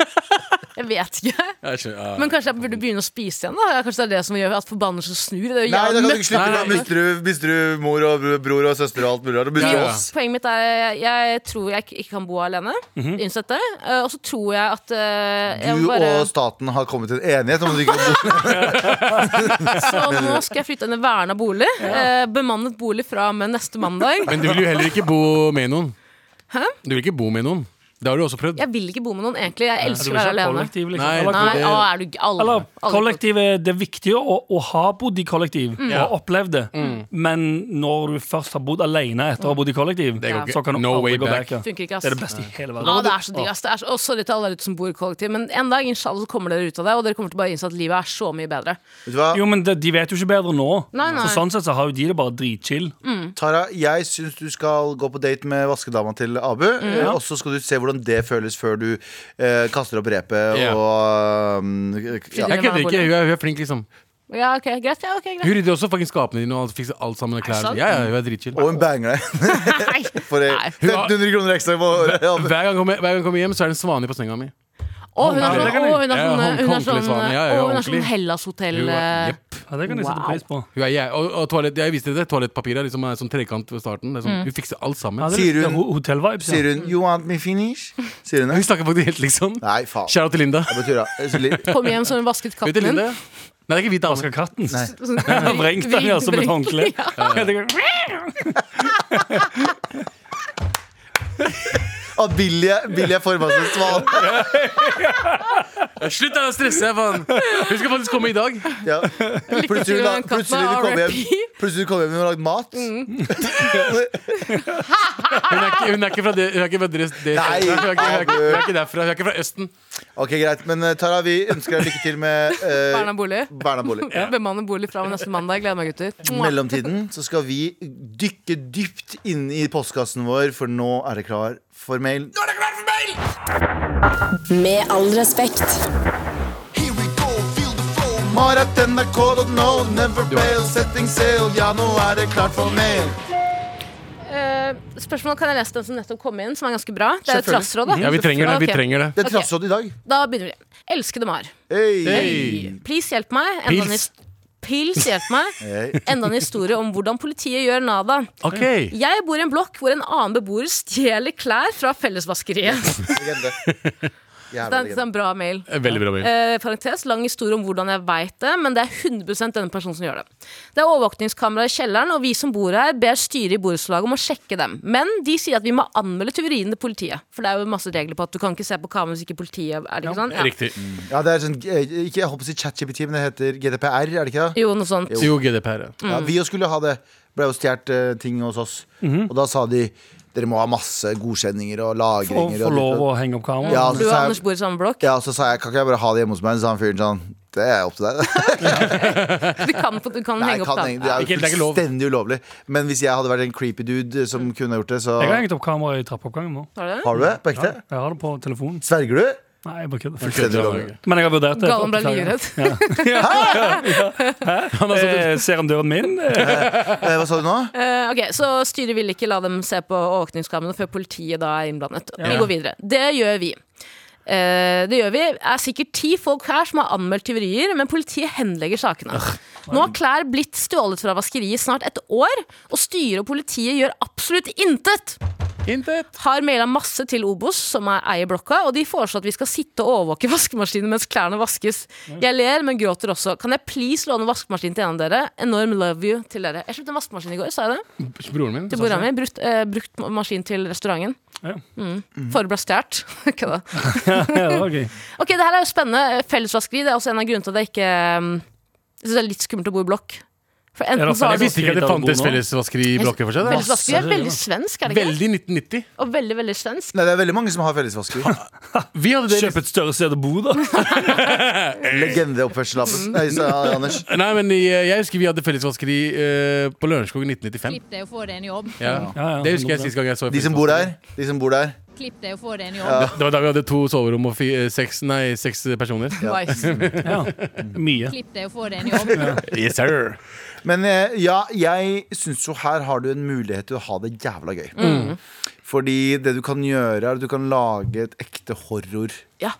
S4: Jeg vet ikke.
S5: Jeg skjønner, ja.
S4: Men kanskje jeg burde begynne å spise igjen? da Kanskje det er det som gjør at forbannelsen snur? Det er jo
S6: Nei,
S4: jævlig
S6: da kan du
S4: møkk.
S6: ikke slippe
S5: Nei,
S6: da
S5: nei.
S6: mister du, mister du mor og br- bror og søster og alt mulig rart. Da mister du
S5: Ja.
S6: oss.
S4: Poenget mitt er jeg, jeg tror jeg ikke- ikke kan bo alene.
S7: Mhm.
S4: Innsett det. Eh, Og så tror jeg at eh, jeg
S6: Du
S4: må bare,
S6: og staten har kommet til en enighet om at du ikke kan bo
S4: Så nå skal jeg flytte inn i verna bolig. eh, Bemannet bolig fra og med neste mandag.
S5: Men du vil jo heller ikke bo med noen. Du vil ikke bo med noen. Det har du også prøvd.
S4: Jeg vil ikke bo med noen, egentlig. Jeg
S7: Du
S4: elsker å
S7: vil
S4: være
S7: ikke ha
S4: alene.
S7: kollektiv, liksom.
S5: Nei,
S7: Eller-
S4: Nei,
S5: det-
S4: å, er du alle,
S7: Eller
S4: alle-
S7: kollektiv er det er viktig å, å ha bodd i kollektiv
S4: Mm.
S7: og opplevd det.
S5: Mm.
S7: Men når du først har bodd alene etter å ha bodd i kollektiv,
S5: Det går ikke.
S7: så kan du
S5: No way
S7: aldri gå
S5: back.
S7: back. ja.
S4: Funker ikke, ass.
S7: Det er det beste i hele verden.
S4: Ja, det er så digg, ass. Det er så, og sorry til alle der ute som bor i kollektiv, men en dag inshallah så kommer dere ut av det, og dere kommer til å bare innse at livet er så mye bedre.
S6: Vet du hva?
S7: Jo, men det, De vet jo ikke bedre nå.
S4: Nei, nei. Mm.
S7: Så Sånn sett så har jo de det bare dritchill.
S6: Tara, jeg syns du skal gå på date med vaskedama til Abu. eh, Og så skal du se hvordan det føles før du eh, kaster opp repet
S5: Ja.
S6: og um, ja.
S5: Jeg kødder ikke. Hun er, hun er flink, liksom.
S4: Ja, ok, greit. Ja, ok, greit.
S5: Hun rydder også fucking skapene dine og fikser alt sammen. og Klær.
S4: sant?
S5: Ja, ja, hun er dritchill.
S6: Og hun banger deg
S4: Nei.
S6: for eh,
S4: Nei.
S6: 1500 kroner ekstra i måneden.
S5: Hver gang jeg kommer- hver gang jeg kommer hjem, så er det en svane på senga mi.
S4: Å, hun er
S5: Ja,
S4: sånn,
S5: det kan jeg.
S4: å, hun er
S5: Ja,
S4: sånn, hun
S5: hånd-
S4: er sånn,
S5: håndklesvane. Ja,
S4: å,
S5: ja,
S4: hun er
S5: ordentlig.
S4: sånn Hellas hotell
S5: Hun er-
S4: eh,
S5: Jepp.
S7: Ja, det kan jeg sette
S4: Wow.
S7: pris på.
S5: Hun er jeg, og, og toalett, jeg viste dere det. Toalettpapir er liksom en sånn trekant ved starten. Det er sånn, Hun fikser alt sammen.
S7: Ja, det er
S6: Sier
S7: litt
S6: hun-
S7: ho- Hotellvibes.
S6: Sier
S7: Ja.
S6: hun 'you want me finish'? Sier hun
S5: Hun
S6: det?
S5: snakker faktisk helt liksom.
S6: Nei, faen.
S5: Shout out til Linda.
S6: Jeg betyr det. Jeg synes litt-
S4: Kom hjem så hun vasket
S5: Vet du
S4: katten
S5: Linda?
S4: din.
S5: Nei, det er ikke hvit dame.
S7: Vasker katten.
S4: Sånn-
S7: Vrengt den ja, som et
S4: Vrengt,
S5: sånn-
S7: håndkle.
S4: ja.
S7: Ja, det kan-
S6: Ah, Billy er- Billy er forma som en svane.
S5: Eh, Slutt da, å stresse, faen! Hun skal faktisk komme i dag.
S6: Ja. Plutselig,
S4: til
S6: da,
S4: den katten,
S6: plutselig du kommer hjem
S4: R.I.P..
S6: Plutselig du kommer hjem og har lagd mat.
S5: Hun er ikke, hun er ikke fra det, hun er ikke fra det, det
S6: Nei,
S5: hun, er ikke, hun, er ikke, hun er ikke derfra. Hun er ikke fra Østen.
S6: Ok, Greit. Men eh, Tara, vi ønsker deg lykke til med eh,
S4: Berna bolig.
S6: Berna bolig.
S4: Bemannet bolig fra og med neste mandag. Gleder meg, gutter.
S6: I mellomtiden så skal vi dykke dypt inn i postkassen vår, for nå er det klar for mail.
S8: Med all respekt.
S2: Here we go, feel the flow.
S6: Marat NRK.no, never fail, setting sail. Ja, nå er det klart for mail.
S4: Eh, spørsmål kan jeg lese den som nettopp kom inn, som er ganske bra. Det er jo
S6: Selvfølgelig.
S4: trassråd, da.
S5: Ja, vi trenger det. vi
S4: Ok,
S5: trenger det
S6: Det er trassråd i dag.
S4: Da begynner vi. Elskede Mar.
S6: Hey.
S4: Please hjelp meg. Enda en
S5: Pils.
S4: his- Pils, hjelp meg.
S6: Hey.
S4: Enda en historie om hvordan politiet gjør Nada.
S5: Ok,
S4: Jeg bor i en blokk hvor en annen beboer stjeler klær fra fellesvaskeriet.
S6: Legende.
S4: Det
S6: Jævla
S4: er, det er
S6: legende.
S4: en sånn bra mail.
S5: Veldig bra. Bjørn.
S4: Eh, parentes, lang historie om hvordan jeg veit det, men det er 100 denne personen som gjør det. Det er overvåkningskamera i kjelleren, og vi som bor her, ber styret i borettslaget om å sjekke dem. Men de sier at vi må anmelde tyveriene til politiet. For det er jo masse regler på at du kan ikke se på kamera hvis ikke politiet er det ikke sånn? Ja.
S5: Riktig.
S6: Ja, det er sånn, eh, ikke, jeg håper å si ChatGPT, men det heter GDPR, er det ikke det?
S4: Jo, noe sånt.
S5: Jo, GDPR. ja.
S4: Mm.
S6: Ja, vi jo skulle ha det. Ble jo stjålet eh, ting hos oss. Og da sa de dere må ha masse godkjenninger og
S7: Og
S6: lagringer.
S7: få
S6: og-
S7: lov å henge opp kamera.
S6: Ja,
S4: Du
S6: Altså, så
S4: og
S6: sa jeg-
S4: Anders bor i samme blokk.
S6: Ja, så sa jeg, kan ikke jeg bare ha det hjemme hos meg? Så sa han fyren sånn, det er opp til deg.
S4: Du kan, du kan
S6: Nei,
S4: henge opp
S6: kan,
S4: da.
S6: jeg- det er
S5: Ikke-
S6: jo
S5: det er ikke lov.
S6: fullstendig ulovlig. Men hvis jeg hadde vært en creepy dude som
S4: Mm.
S6: kunne gjort det, så
S7: Jeg har hengt opp kamera i trappeoppgangen nå.
S4: Har du det?
S6: Har du det? På ekte?
S7: Jeg har det på telefonen.
S6: Sverger du?
S7: Nei, jeg bare kødder.
S6: Fullstendig ulovlig.
S7: Men jeg har vurdert det.
S4: Galvan ble livredd.
S7: Eh, Ser han døren min? Eh,
S6: Eh, hva sa du nå?
S4: Eh, ok, Så styret vil ikke la dem se på overvåkningskameraene før politiet da er innblandet. Vi går videre. Det gjør vi. Eh, det gjør vi. er sikkert ti folk her som har anmeldt tyverier, men politiet henlegger sakene. Nå har klær blitt stjålet fra vaskeriet i snart et år, og styret og politiet gjør absolutt intet.
S5: Intet.
S4: Har maila masse til Obos, som er eier blokka, og de foreslår at vi skal sitte og overvåke vaskemaskinen mens klærne vaskes. Jeg ler, men gråter også. Kan jeg please låne vaskemaskinen til en av dere? Enorm love you til dere. Jeg kjøpte en vaskemaskin i går, sa jeg det?
S5: Broren min.
S4: Til mora mi. Brukt, eh, brukt maskin til restauranten.
S7: Ja.
S4: Mm. Forrige ble stjålet. Kødda.
S7: ja, ok.
S4: ok, det her er jo spennende. Eh, Fellesvaskeri det er også en av grunnene til at jeg ikke um, Jeg synes det er litt skummelt å bo i blokk. For
S7: Er
S4: enten
S7: det
S4: så
S5: Jeg
S4: har du
S5: visste ikke at det fantes fellesvaskeri i blokker for seg. da.
S4: Fellesvaskeri er veldig svensk, er det ikke?
S5: Veldig 1990.
S4: Og veldig, veldig svensk.
S6: Nei, det er veldig mange som har fellesvasker.
S5: Vi hadde det
S7: Kjøp et større sted å bo, da.
S6: Legendeoppførsel, Abbas. Nei, sa Anders.
S5: Nei, men jeg, jeg husker vi hadde fellesvaskeri eh, på Lørenskog i 1995.
S9: Klipp deg og få deg en jobb.
S5: Ja.
S7: Ja, ja,
S5: Det husker jeg sist gang jeg så
S6: De som bor der, de som bor der.
S9: Klipp deg og få deg en jobb.
S5: Det var da vi hadde to soverom og fi, eh, seks, nei, seks personer.
S4: Nice.
S7: Ja. Mye.
S9: Klipp deg og få deg en jobb.
S5: Yes, sir.
S6: Men eh, ja, jeg syns jo her har du en mulighet til å ha det jævla gøy.
S4: Mm.
S6: Fordi det du kan gjøre, er at du kan lage et ekte horror.
S4: Ja.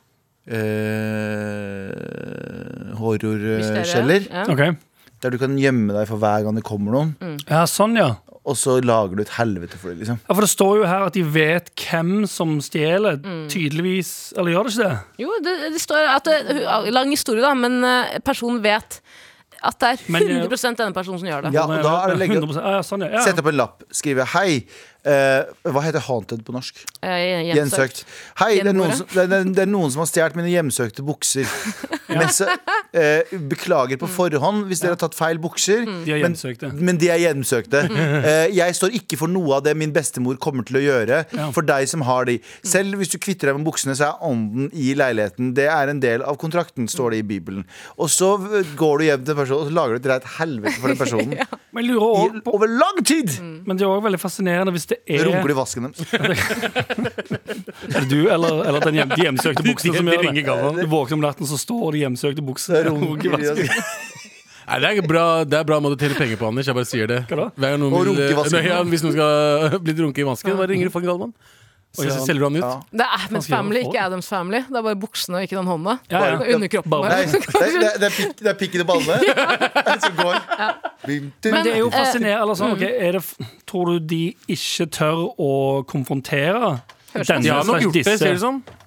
S6: eh,
S4: Mysteriet.
S6: horrorkjeller.
S4: Ja. Mm.
S7: Ok.
S6: Der du kan gjemme deg for hver gang det kommer noen,
S7: Ja, sånn, ja.
S6: og så lager du et helvete for det. liksom
S7: ja. For det står jo her at de vet hvem som stjeler. Tydeligvis. Eller gjør det ikke det?
S4: Jo, det, det står at det, Lang historie, da, men eh, personen vet at det
S7: Men, eh,
S4: er 100 denne personen som gjør det.
S7: Sånn,
S6: Ja, og da er det legge-
S7: 100%. Ja, ja, sånn, ja.
S6: Sett
S7: ja.
S6: opp en lapp, skrive 'hei'. Eh, hva heter 'haunted' på norsk?
S4: Eh, gjensøkt.
S6: Gjensøkt. Hei, det er, noen
S4: Gjenboere.
S6: som, det, er, det er noen som har stjålet mine hjemsøkte bukser. Men så, eh, beklager på forhånd hvis dere har tatt feil bukser.
S7: De er
S6: men-
S7: hjemsøkte.
S6: Men de er hjemsøkte. Eh, jeg står ikke for noe av det min bestemor kommer til å gjøre for deg som har de. Selv hvis du kvitter deg med buksene, så er ånden i leiligheten. Det er en del av kontrakten, står det i Bibelen. Og så eh, går du hjem til en person og så lager du et reit helvete for den personen.
S7: Men jeg lurer
S6: I,
S7: også på
S6: over lang tid!
S7: Men det er òg veldig fascinerende hvis det er
S6: Runker du i vasken deres.
S7: Er det du eller, eller den hjem, de hjemsøkte buksene som
S5: de
S7: gjør
S5: ringer gammel.
S7: det. Du våkner om natten, så står de hjemsøkte buksene
S6: Runker i vasken.
S5: Nei, det er en bra, det er bra måte å tjene penger på, Anders. Jeg bare sier det.
S7: Hva da?
S5: Hver gang noen
S6: Og
S5: vil-
S6: runke i vasken.
S5: Nei, ja, hvis noen skal eh, bli drunket i vasken, bare ringer du fucking Galvan. Så
S7: Ja.
S5: selger du han ut.
S6: Ja.
S4: Det er Adams
S7: sier han
S4: Family,
S7: får.
S4: ikke Adams Family. Det er bare buksene og ikke den hånda.
S7: Ja, ja.
S4: Og underkroppen.
S7: Bare-
S6: Nei,
S4: der.
S6: det, det, det, er pikk, det er pikken i ballene som går. Bim, dum,
S7: Men det er jo
S6: dum.
S7: fascinerende. Eller sånn, ok, er det, f- tror du de ikke tør å konfrontere
S4: Høres
S7: denne
S5: De har nok
S7: slags
S5: gjort det, sånn.
S7: disse?
S5: ser det ut som.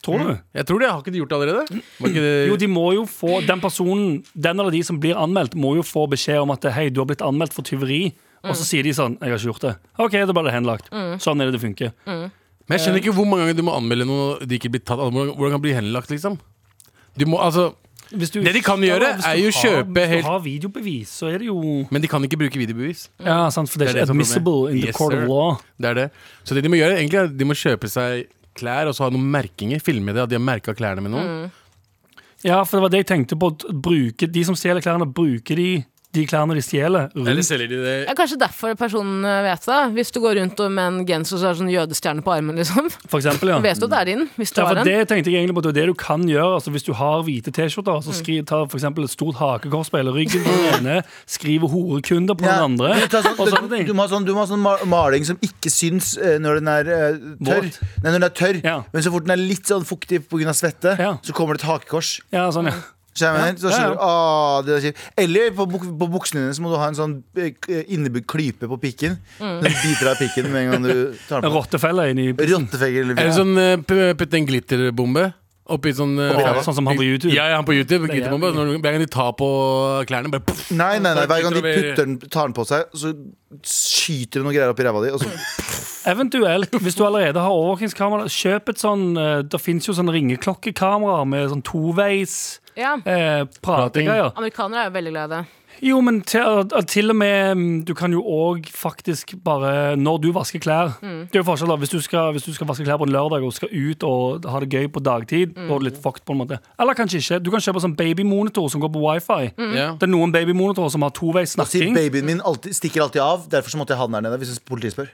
S7: Tror du?
S5: Jeg tror det. Har ikke de gjort det allerede? Var ikke det...
S7: Jo, de må jo få Den personen, den eller de som blir anmeldt, må jo få beskjed om at hei, du har blitt anmeldt for tyveri. Og
S5: Mm.
S7: så sier de sånn Jeg har ikke gjort det. OK, da ble det henlagt. Sånn er det det funker.
S5: Mm. Men jeg skjønner ikke hvor mange ganger du må anmelde noe og de ikke blir tatt. Altså, Hvordan, hvordan kan det bli henlagt, liksom? Du må, altså,
S7: Hvis du-
S5: Det de kan gjøre,
S7: Ja, hvis du
S5: er jo
S7: har-
S5: kjøpe
S7: Hvis
S5: helt-
S7: du har videobevis, så er det jo
S5: men de kan ikke bruke videobevis.
S7: Ja, sant, for det er ikke
S5: Det er det som er
S7: admissible
S5: problemet.
S7: in the
S5: Yes,
S7: court of
S5: sir.
S7: law.
S5: Det er det. Så det de må gjøre, egentlig er at de må kjøpe seg klær og så ha noen merkinger. Filme det, at de har merka klærne med noen.
S7: Mm. Ja, for det var det jeg tenkte på. at Bruke, de som stjeler klærne, bruker de de klærne de stjeler? rundt-
S5: Eller selger de det
S4: Det er kanskje derfor personen eh, vet det. Hvis du går rundt og med en genser som har sånn jødestjerne på armen, liksom.
S7: For eksempel, ja.
S4: Vet du at det er din, hvis du
S7: Ja,
S4: har
S7: for
S4: en.
S7: det tenkte jeg egentlig på. Det er det du kan gjøre. Altså, hvis du har hvite
S4: Mm.
S7: T-skjorter, så skri, ta for eksempel et stort hakekors på hele ryggen på den ene, skriv 'horekunder' på den
S6: Ja,
S7: andre,
S6: du, tar
S7: og
S6: sånn,
S7: sånne
S6: du,
S7: ting.
S6: du må ha sånn, du må ha sånn ma- maling som ikke syns eh, når den er eh, tørr.
S7: Våt.
S6: Nei, når den er tørr
S7: Ja.
S6: Men så fort den er litt sånn fuktig pga. svette,
S7: Ja.
S6: så kommer det et hakekors.
S7: Ja, sånn, ja.
S6: Så jeg mener, så
S7: Ja, ja.
S6: skjønner du, «Ah, det er kjipt». Eller på, buk på buksene dine så må du ha en sånn eh, k- innebygd klype på pikken. Den biter av pikken med en gang du tar
S7: En
S6: den på.
S7: rottefelle inni
S6: Rottefenger.
S5: Er det
S6: eller-
S5: sånn eh, p- putte en glitterbombe oppi sånn eh,
S7: Ja,
S5: fjær-
S7: sånn som han på YouTube.
S5: Ja, ja, han på YouTube.
S7: er
S5: Glitterbombe. Når, hver gang de tar på klærne, bare pff,
S6: Nei, nei, nei, hver gang de
S5: Utover-
S6: putter den, tar den på seg, så skyter det noen greier opp i ræva di. Og så
S7: Eventuelt, hvis du allerede har overvåkingskamera, kjøp et sånn eh, Det fins jo sånn ringeklokkekamera med sånn toveis
S4: Ja.
S7: eh, prategreier.
S4: Amerikanere er jo veldig glad i det.
S7: Jo, men til, at til og med mm, Du kan jo òg faktisk bare Når du vasker klær Det er jo forskjell da, hvis du, skal, hvis du skal vaske klær på en lørdag og skal ut og ha det gøy på dagtid, da er du litt fucked på en måte. Eller kanskje ikke. Du kan kjøpe sånn babymonitor som går på wifi.
S5: Ja.
S7: Det er noen babymonitorer som har toveis
S6: Da sier
S7: snakking.
S6: babyen min alltid, stikker alltid av. Derfor så måtte jeg ha den her nede. Hvis politiet spør.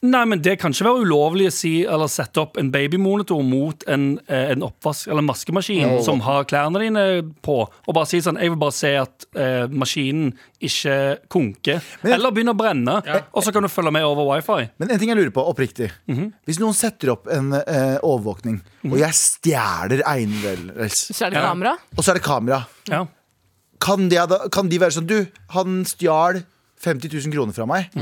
S7: Nei, men Det kan ikke være ulovlig å si eller sette opp en babymonitor mot en, eh, en oppvask eller en vaskemaskin som har klærne dine på, og bare si sånn Jeg vil bare se at eh, maskinen ikke konker. Eller begynner å brenne. Og så kan du følge med over wifi.
S6: Men en ting jeg lurer på, oppriktig.
S5: Mhm.
S6: Hvis noen setter opp en eh, overvåkning, og jeg stjeler eiendeler,
S4: Så er det kamera.
S6: og så er det kamera,
S7: Ja.
S6: kan de, da, kan de være sånn Du, han stjal 50 000 kroner fra meg.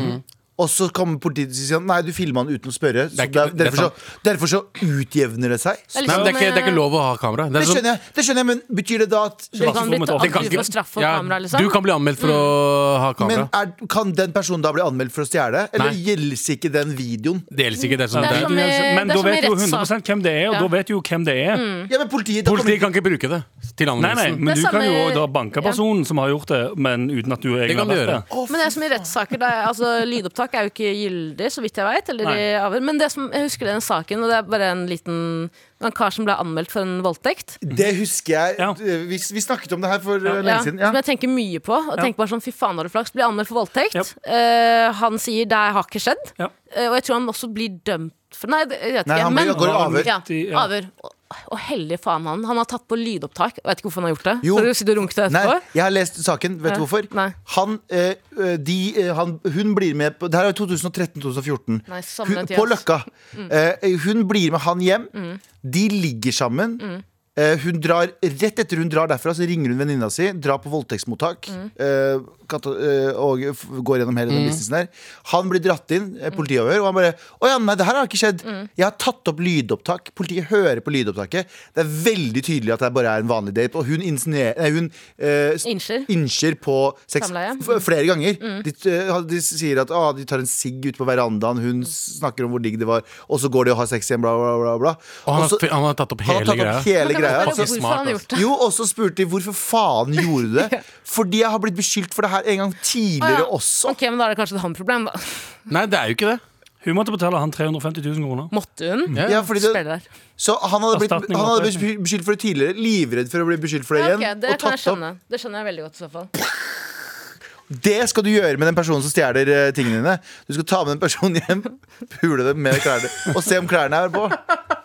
S6: Og så kommer politiet og sier sånn, nei, du filma han uten å spørre. Så
S5: Mhm. Det er ikke-
S6: der-
S5: det er
S6: derfor, så, derfor så utjevner det seg.
S4: Det er litt sånn
S5: Nei, men det er,
S4: som,
S5: ikke, det er
S4: eh,
S5: ikke lov å ha kamera. Det
S6: Det
S5: er sånn-
S6: skjønner jeg, det skjønner jeg men betyr det da at
S4: Du kan bli
S7: Klasserommet åpent.
S5: Det kan
S4: anklaget
S5: ikke-
S4: for straff for
S5: Ja,
S4: kamera, liksom.
S5: Du kan bli anmeldt for å ha
S6: Men
S5: kamera.
S6: er, kan den personen da bli anmeldt for å stjele? Eller
S5: Nei.
S6: gjelder ikke den videoen?
S5: Det gjelder ikke. Det er sånn,
S4: Det er
S5: det er
S4: som i- det er
S7: Men da
S4: som i
S7: vet du jo
S4: rettssak.
S7: 100 hvem det er, og
S4: Ja.
S7: da vet du jo hvem det er.
S6: Ja, men politiet, da kommer-
S5: Politiet kan ikke bruke det til
S7: Nei, nei,
S5: anmeldelsen.
S7: men
S4: Det
S7: Du
S4: er
S7: kan
S4: samme-
S7: jo også dra banke personen som har gjort det, men uten at du egentlig
S5: kan
S7: har
S5: du
S7: vært
S5: gjøre.
S7: det.
S4: Men det er som i rettssaker, det er, altså, lydopptak er jo ikke gyldig, så vidt jeg veit.
S7: Nei.
S4: Men det som, jeg husker den saken, og det er bare en liten det var en kar som ble anmeldt for en voldtekt.
S6: Det husker jeg.
S7: Ja.
S6: Vi, vi snakket om det her for uh,
S4: Ja,
S6: lenge siden.
S4: Som
S6: Ja.
S4: jeg tenker mye på. Og tenker bare sånn, Fy faen, har du flaks? Blir anmeldt for voldtekt.
S7: Yep.
S4: Eh, han sier det har ikke skjedd.
S7: Ja.
S4: Eh, og jeg tror han også blir dømt for Nei, det, jeg vet ikke.
S6: Nei, han blir- går i avhør.
S4: Ja,
S7: Ja.
S4: avhør. Og, og heldige faen han. Han har tatt på lydopptak. Jeg vet ikke hvorfor han har gjort det.
S6: Jo.
S4: For å sitte og runke det
S6: Nei,
S4: etterpå.
S6: jeg har lest saken. Vet du
S4: Ja.
S6: hvorfor?
S4: Nei.
S6: Han, eh, eh, de, eh, han, hun blir med på Det her er 2013-2014.
S4: Nei, samme
S6: Hun-
S4: tid,
S6: På
S4: ass. Mm.
S6: Løkka. Eh, hun blir med han hjem. De ligger sammen. Eh, hun drar, rett etter hun drar derfra, så ringer hun venninna si, drar på voldtektsmottak
S4: Mm.
S6: eh, kata, eh, og f går gjennom hele den businessen der. Han blir dratt inn, eh, politiavhør, og han bare Å ja, nei, det her har ikke skjedd.
S4: Mm.
S6: Jeg har tatt opp lydopptak. Politiet hører på lydopptaket. Det er veldig tydelig at det bare er en vanlig date, og hun insinuerer Nei, hun eh, s-
S4: Innser.
S6: innser på sex
S4: Samleie.
S6: f- flere ganger. De, eh, de sier at ah, de tar en sigg ute på verandaen, hun snakker om hvor digg det var, og så går de og har sex igjen, bla, bla, bla. bla.
S5: Og han,
S6: Og så-
S5: har, han har tatt opp
S6: han
S5: hele
S6: har tatt
S5: greia.
S6: opp hele greia. Altså,
S4: Men kan du
S5: Så
S4: forklare
S5: smart,
S4: Hvorfor han har gjort det?
S6: Jo, og så spurte de hvorfor faen gjorde du det. Fordi jeg har blitt beskyldt for det her en gang tidligere også.
S4: Ok, men Da er det kanskje et han-problem. da.
S5: Nei, det er jo ikke det.
S7: Hun måtte betale han 350 000 kroner.
S4: Måtte hun?
S6: Ja, fordi det,
S4: Spiller der.
S6: så han hadde, blitt,
S7: Erstatning,
S6: han hadde
S7: altså.
S6: blitt beskyldt for det tidligere. Livredd for å bli beskyldt for det
S4: Ja,
S6: igjen.
S4: ok, det
S6: og
S4: kan jeg
S6: tatt opp.
S4: skjønne. Det skjønner jeg veldig godt i så fall.
S6: Det skal du gjøre med den personen som stjeler eh, tingene dine. Du skal ta med den personen hjem, pule dem med klærne og se om klærne er på.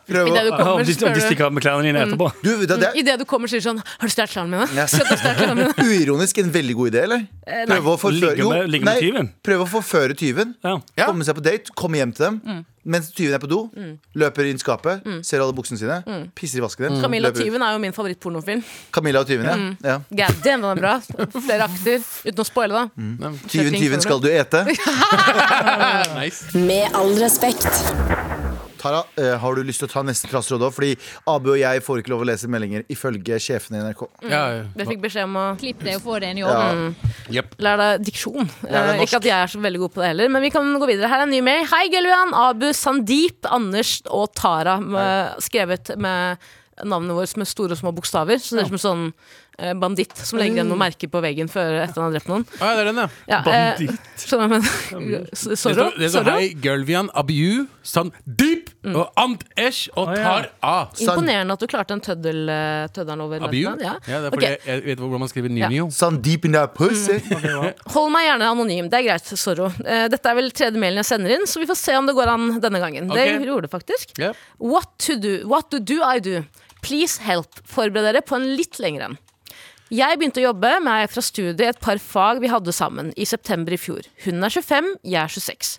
S6: Prøv
S4: I det
S6: å
S4: du
S7: Ja, og
S4: kommer, så
S7: de, og de
S4: spør du
S7: stikker av med klærne dine etterpå.
S6: du, det, det
S4: I det du kommer, sier sånn Har du stjålet klærne mine?
S6: Ja.
S4: Skal du stjele klærne mine?
S6: er uironisk en veldig god idé, eller?
S4: Eh,
S6: Prøve å forføre,
S7: Ligge med- ligge med tyven.
S6: prøve å forføre tyven.
S7: Ja.
S6: Komme seg på date, komme hjem til dem
S4: Mm.
S6: mens tyven er på do. Løper inn skapet, ser alle buksene sine, pisser i vasken. Mm.
S4: Camilla Tyven Mm. er jo min favorittpornofilm.
S6: Camilla og tyven, ja. ja.
S4: God damn, den er bra. Flere akter. Uten å spoile, da.
S6: Tyven, tyven skal du ete.
S8: Med all respekt.
S6: Tara, eh, har du lyst til å ta neste klasseråd òg? Fordi Abu og jeg får ikke lov å lese meldinger ifølge sjefene i NRK.
S4: Mm.
S5: Ja,
S4: Jeg fikk beskjed om å
S9: Klipp det og få det inn i
S6: Ja.
S9: orden.
S4: lære deg diksjon.
S6: Lær deg
S4: Eh, Ikke at jeg er så veldig god på det heller, men vi kan gå videre. Her er en ny mail. Hei, Gelvian, Abu, Sandeep, Anders og Tara. Med, skrevet med navnet vårt med store og små bokstaver. Så det er som en sånn eh, banditt som legger igjen noen merker på veggen før etter han har drept noen.
S5: Ah, ja, det er den, ja.
S4: Ja, eh, skjønner du hva jeg mener?
S5: Det
S4: Sorro?
S5: står, det står Hei, Gulvian, Abiu, Sandeep og Ant Esh og
S7: Å, ja.
S5: Tar A.
S4: Imponerende at du klarte en tøddel, eh, tøddelen over
S5: Abiu?
S4: natten. Ja.
S5: Ja, det er
S4: Ok,
S5: fordi jeg, jeg vet hvordan man skriver Nunio.
S6: Sandeep Sånn in that pussy.
S4: Hold meg gjerne anonym. Det er greit, Sorro. Eh, Dette er vel tredje mailen jeg sender inn, så vi får se om det går an denne gangen.
S5: Ok.
S4: Det gjorde det faktisk.
S5: Ja.
S4: What to do, what to do I do? Please help. Forbered dere på en litt lengre en. Jeg begynte å jobbe med ei fra studiet i et par fag vi hadde sammen i september i fjor. Hun er 25, jeg er 26.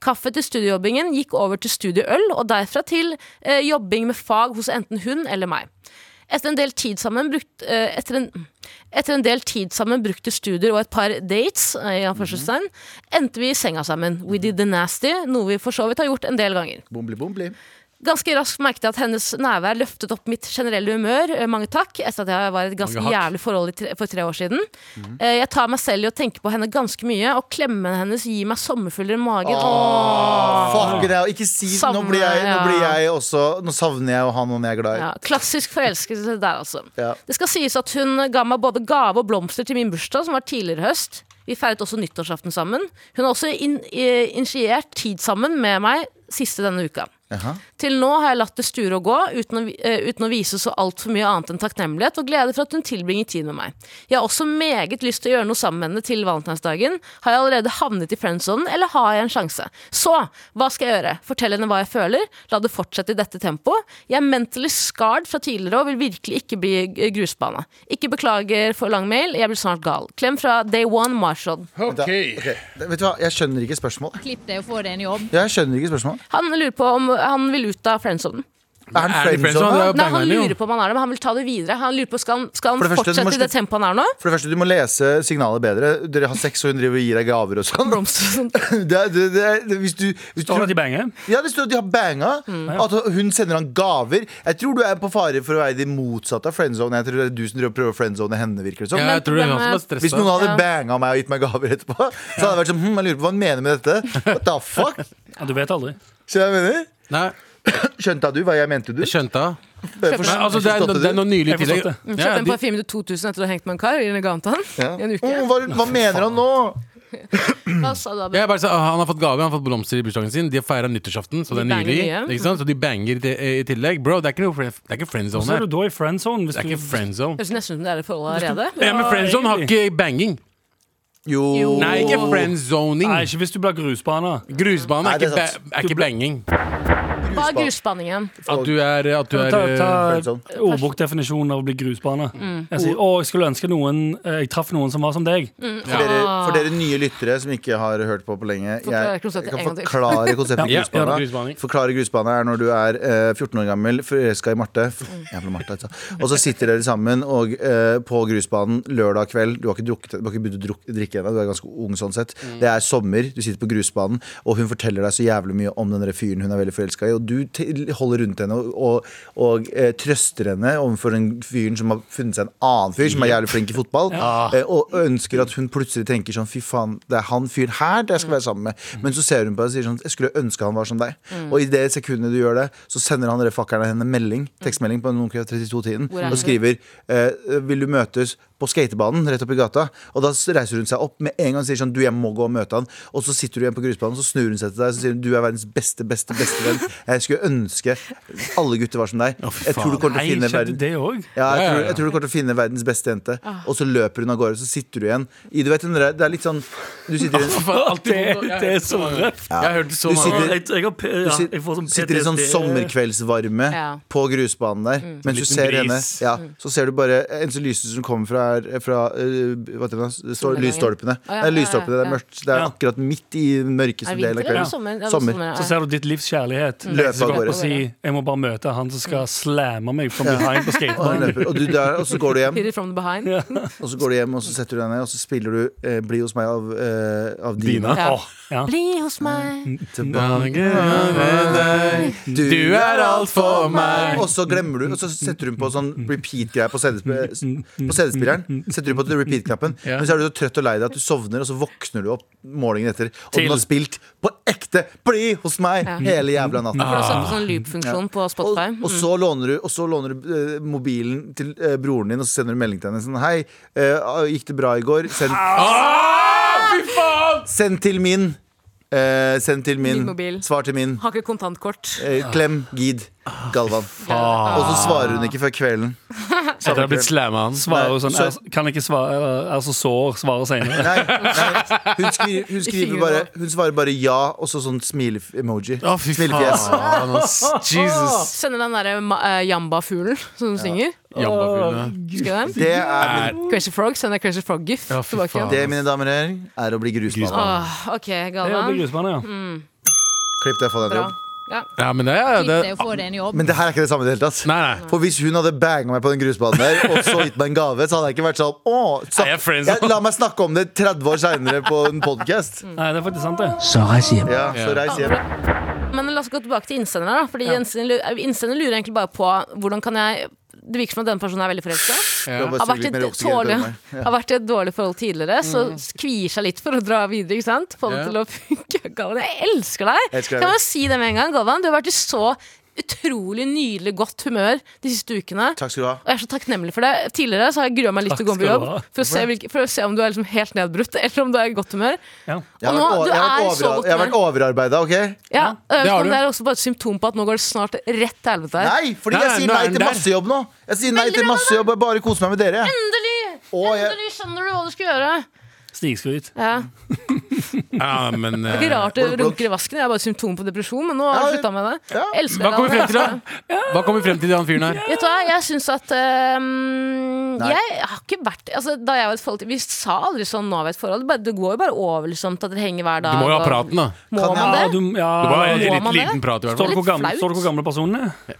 S4: Kaffe til studiejobbingen gikk over til studieøl, og derfra til eh, jobbing med fag hos enten hun eller meg. Etter en del tid sammen brukt, eh, etter, en, etter en del tid sammen brukte studier og et par dates eh, i anførselstegn, endte vi i senga sammen. We did the nasty, noe vi for så vidt har gjort en del ganger.
S6: Bombli, bombli.
S4: Ganske raskt merket jeg at hennes nærvær løftet opp mitt generelle humør. eh, Mange takk, etter at jeg var i et ganske
S5: Mange hakk. Mhm.
S4: jævlig forhold i tre, for tre år siden. Eh, Jeg tar meg selv i å tenke på henne ganske mye, og klemmene hennes gir meg sommerfugler i magen.
S6: Fuck it, out. ikke si nå
S4: Ah. Savner,
S6: blir, jeg, nå
S4: ja.
S6: blir jeg også Nå savner jeg å ha noen jeg er glad i.
S4: Ja, klassisk forelskelse der, altså.
S6: Ja.
S4: Det skal sies at hun ga meg både gave og blomster til min bursdag, som var tidligere i høst. Vi feiret også nyttårsaften sammen. Hun har også in i- initiert tid sammen med meg siste denne uka.
S6: Jaha.
S4: Til nå har jeg latt det sture og gå, uten å, vi- eh, uten å vise så altfor mye annet enn takknemlighet og glede for at hun tilbringer tid med meg. Jeg har også meget lyst til å gjøre noe sammen med henne til valentinsdagen. Har jeg allerede havnet i friendzonen, eller har jeg en sjanse? Så, hva skal jeg gjøre? Fortell henne hva jeg føler? La det fortsette i dette tempoet? Jeg er mentally scarred fra tidligere og vil virkelig ikke bli eh, grusbana. Ikke beklager for lang mail, jeg blir snart gal. Klem fra day one, Marshall.
S6: Da- ok. Vet du hva, jeg skjønner ikke spørsmål.
S9: Klipp det og få det inn i orden.
S6: Jeg skjønner ikke spørsmål.
S4: Han lurer på om han vil ut av friendzonen.
S6: Er han
S5: Er det
S6: friendzone?
S5: friendzone?
S6: da?
S5: Ja,
S4: Nei, han
S5: banger, jo.
S4: lurer på om han er det, men han vil ta det videre. Han lurer på, Skal han, skal
S6: For
S4: han
S6: det første, du
S4: fortsette
S6: må
S4: i det
S6: slutte-
S4: tempoet han er nå?
S6: For det første, Du må lese signalet bedre. Dere har sex, og hun driver og gir deg gaver og sånn.
S4: Blomster og sånt.
S6: Det, er- det, det, er- det, hvis du, hvis du
S7: Står det at de banger?
S6: ja, det står at de har banga.
S4: Mm.
S6: At hun sender han gaver. Jeg tror du er på fare for å være det motsatte av friendzone. Jeg tror det er du som driver og prøver å friendzone henne, virker det som.
S5: Ja, jeg tror det er han som er
S6: Hvis noen
S5: stressa.
S6: hadde
S4: Ja.
S6: banga meg og gitt meg gaver etterpå, så hadde jeg vært sånn hm, jeg lurer på hva han mener med dette. What the fuck?
S7: Ja, du vet aldri.
S6: Skjønner du hva jeg mener?
S5: Nei,
S6: Skjønte du hva jeg mente, du?
S5: jeg skjønte det.
S6: Forstår-
S5: Men, altså, det, er,
S6: forståtte
S5: det er
S6: du?
S5: noe nylig
S7: Jeg
S5: i tillegg.
S7: forstått det.
S5: Ja,
S4: Kjøpte en
S5: de-
S4: parfyme til 2000 etter å ha hengt med en kar. Gir en gave til han
S6: Ja.
S4: i en uke.
S6: Åh, hva, hva mener han nå?
S4: Hva sa du, Abu?
S5: Jeg bare sa, ah, han har fått gave, han har fått blomster i bursdagen sin. De har feira nyttårsaften, så
S4: De
S5: det er
S4: banger
S5: nylig.
S4: mye.
S5: Ikke sant? Så de banger i te- i tillegg. Bro, det er ikke noe friend- det er ikke friend
S7: Så
S5: zone
S7: er
S5: her.
S7: du da i friendzone. Hvis
S5: Det er ikke
S7: du,
S5: friend zone.
S4: Høres nesten ut som det er et forhold allerede.
S5: Ja, men friend zone har ikke banging.
S6: Jo,
S5: Nei, ikke friend zoning.
S7: nei, ikke hvis du blir grusbana.
S5: Grusbane
S6: Nei,
S5: er
S6: det er
S5: ikke, ba
S6: sant.
S5: er ikke banging.
S4: Hva er grusbanningen?
S5: At du er, at du
S7: Ta,
S5: er
S6: eh,
S7: ta
S6: følsom.
S7: ordbokdefinisjonen av å bli grusbane.
S6: Mm.
S7: Jeg sier å, jeg skulle ønske noen eh, Jeg traff noen som var som deg.
S6: For dere, for dere nye lyttere som ikke har hørt på på lenge,
S4: Forklare
S6: jeg
S4: konseptet
S6: kan
S4: en gang til.
S6: forklare konseptet
S5: Ja,
S6: grusbane.
S5: ja, grusbane.
S6: Forklare grusbane er når du er eh, 14 år gammel, forelska i Marte. F-
S4: Mm.
S6: Jævla Marte, altså. Og så sitter dere sammen og, eh, på grusbanen lørdag kveld. Du har ikke, drukket, du har ikke begynt å druk- drikke ennå, du er ganske ung sånn sett.
S5: Mm.
S6: Det er sommer, du sitter på grusbanen, og hun forteller deg så jævlig mye om den der fyren hun er veldig forelska i, og du til- holder rundt henne og, og, og eh, trøster henne overfor den fyren som har funnet seg en annen fyr som er jævlig flink i fotball, eh, og ønsker at hun plutselig tenker sånn fy faen, det er han fyren her det jeg skal være sammen med.
S4: Mm.
S6: Men så ser hun på deg og sier sånn jeg skulle ønske han var som deg. Og i det sekundet du gjør det, så sender han refuckerne henne melding, tekstmelding på noen 32-tiden
S4: Hvor er
S6: og
S4: du?
S6: skriver eh, vil du møtes på skatebanen rett oppi gata. Og da reiser hun seg opp med en gang og sier sånn du, jeg må gå og møte han. Og så sitter du igjen på grusbanen, så snur hun seg til deg og sier hun, du er verdens beste, beste, beste venn. Jeg skulle ønske alle gutter var som deg. Jeg tror du kommer
S7: Nei,
S6: til å finne
S7: skjedde
S6: verden
S7: det òg?
S6: ja, jeg,
S5: Ja, ja,
S6: tror,
S5: ja.
S6: jeg tror du kommer til å finne verdens beste jente. Og så løper hun av gårde, så sitter du igjen. I, du vet, den der- det er litt sånn Du sitter i en,
S7: Det, det er så røft.
S5: Jeg har hørt det så
S6: Du
S5: mange
S6: sitter-
S5: ganger.
S7: Jeg, jeg, har p-
S6: du
S7: ja,
S6: sit-
S7: jeg får sånn
S6: sitter i sånn
S7: PTSD.
S6: sommerkveldsvarme
S4: Ja. Mm.
S6: på grusbanen der. Mens du
S7: Liten
S6: ser
S7: bris.
S6: henne, ja, så ser du bare en sånn lyset som kommer fra, er fra eh, hva heter det, da? Stå-
S4: Solnedgangen.
S6: lysstolpene.
S4: Å, ja,
S6: Det er
S4: ja,
S6: lysstolpene, det er
S4: ja.
S6: mørkt. Det er
S7: Ja.
S6: akkurat midt i den
S4: Er
S6: mørkeste
S4: det
S6: delen av
S4: vinter eller
S6: kvelden.
S4: sommer? Ja, det er
S6: Sommer.
S4: ja.
S7: Så ser du ditt livs kjærlighet.
S6: Løpe
S7: Så
S6: Mm. av
S7: går
S6: gårde.
S7: opp og si, jeg må bare møte han som skal slamme meg from behind på
S6: Og, hun
S7: skatebanen.
S6: løper, og, du der, og så går du hjem,
S4: Hit it from the behind.
S6: og så går du hjem Og så setter du deg ned, og så spiller du eh, 'Bli hos meg' av, eh, av Dina.
S4: Ja.
S7: Åh, ja.
S4: Bli hos
S6: Mm.
S4: meg.
S5: Du er alt for meg.
S6: Og så glemmer du, og så setter hun på sånn repeat-greie på CD eh, på CD-spilleren. setter du på repeat-knappen,
S5: Ja.
S6: men så er du så trøtt og lei deg at du sovner, og så våkner du opp morgenen etter, og
S7: Til.
S6: den har spilt på ekte! Bli hos meg! Hele jævla natten.
S4: For det er samme sånn loop-funksjon på
S6: Og,
S4: Spotify.
S6: Ah. og så låner du, og så låner du eh, mobilen til eh, broren din, og så sender du melding til henne sånn Hei, eh, gikk det bra i går? Send, send til min. Eh, send til min.
S4: Min mobil.
S6: Svar til min.
S4: Har ikke kontantkort.
S6: Eh, klem. Gid. Galvan. Og så svarer hun ikke før kvelden.
S5: Etter å ha blitt slamma han.
S7: Svarer jo sånn,
S6: Nei,
S7: er, kan ikke svare, eller er så sår, svarer senere.
S6: Nei, nei. Hun, skriver, hun, skriver
S4: fingeren
S6: bare,
S4: vår.
S6: hun svarer bare ja, og så sånn smile-emoji.
S5: Å, fy
S6: Smilefjes.
S5: faen. ass. Jesus.
S4: Sender den derre ma- eh, jamba-fuglen som du synger.
S5: Jambafuglen.
S4: Husker du den?
S6: Det, er, min-
S4: Crazy Frog sender Crazy Frog-gif
S5: Ja, fy
S4: tilbake.
S5: faen.
S6: det, mine damer og herrer, er å bli grusmann.
S4: Åh, OK,
S7: Det er
S4: Galvan.
S7: grusbane,
S6: Mm.
S7: ja.
S6: Klipp det, få deg en
S4: Bra.
S6: jobb.
S5: Ja, men det er
S9: Fint
S5: det.
S9: det å få deg en jobb.
S6: Men det her er ikke det samme i det hele tatt.
S5: Nei, nei.
S6: For hvis hun hadde banga meg på den grusbanen der, og så gitt meg en gave, så hadde jeg ikke vært sånn Å, så,
S5: Er jeg friends
S6: jeg, la meg snakke om det 30 år seinere på en podkast.
S4: Mm.
S7: Nei, det er faktisk sant, det.
S6: Ja, så reis hjem.
S4: Men la oss gå tilbake til innsender. da Fordi innsender lu- eh, innsender lurer egentlig bare på hvordan kan jeg Det virker som at denne personen er veldig forelska.
S6: Det var bare
S4: Har
S6: så
S4: vært, i
S6: litt mer
S4: et
S6: oksygen til
S4: dårlig,
S6: meg. Mm.
S4: har vært i et dårlig forhold tidligere, så kvier seg litt for å dra videre. ikke sant? Få det
S5: Ja.
S4: til å funke. Galvan, jeg elsker deg!
S6: Jeg elsker deg.
S4: Kan man si det med en gang, Galvan? Du har vært i så utrolig nydelig godt humør de siste ukene.
S6: Takk skal du ha.
S4: Og jeg er så takknemlig for det. Tidligere så har jeg grua meg litt
S7: Takk
S4: til å gå på
S7: skal
S4: jobb
S7: du ha.
S4: for å, se hvilke, for å se om du er liksom helt nedbrutt, eller om du er i godt humør.
S7: Ja.
S6: Jeg har
S4: Og nå, du
S6: vært, over- jeg har
S4: er i
S6: vært,
S4: så
S6: overar-
S4: godt
S6: jeg har vært overarbeida, OK?
S4: Ja, øh,
S5: det har
S4: men
S5: du.
S4: det er også bare et symptom på at nå går det snart rett til helvete. her.
S6: Nei, fordi jeg
S5: Nei,
S6: sier
S5: nå er
S6: nei
S5: den
S6: til
S5: der.
S6: massejobb nå. Jeg sier nei til massejobb og bare koser meg med dere.
S4: Endelig!
S6: Og jeg-
S4: Endelig skjønner du hva du skal gjøre.
S7: Snikskryt.
S4: Ja.
S5: Ja, men
S4: Det er ikke
S5: eh,
S4: rart det
S6: Blunk, blunk.
S4: runker i vasken. Det er bare et symptom på depresjon, men nå har
S6: Ja,
S4: jeg slutta med det.
S6: ja.
S4: Jeg Elsker
S5: Hva kommer vi
S4: det. altså.
S5: frem til, da? Hva kommer vi frem til, han fyren her?
S4: Vet du hva, jeg syns at øhm,
S6: Nei.
S4: Jeg har ikke vært altså, Da jeg var i et forhold til Vi sa aldri sånn 'nå er vi i et forhold'. Det bare- Det går jo bare over liksom, til at dere henger hver dag.
S5: Du må jo ha
S4: og-
S5: praten, da.
S4: Må
S6: Kan jeg-
S4: man det?
S7: Ja, du, ja.
S5: Det var en
S4: Må
S5: litt
S4: man det?
S5: liten prat, i hvert
S7: Står
S5: fall.
S7: det hvor gamle,
S4: Litt flaut.
S7: står det hvor gamle personen er?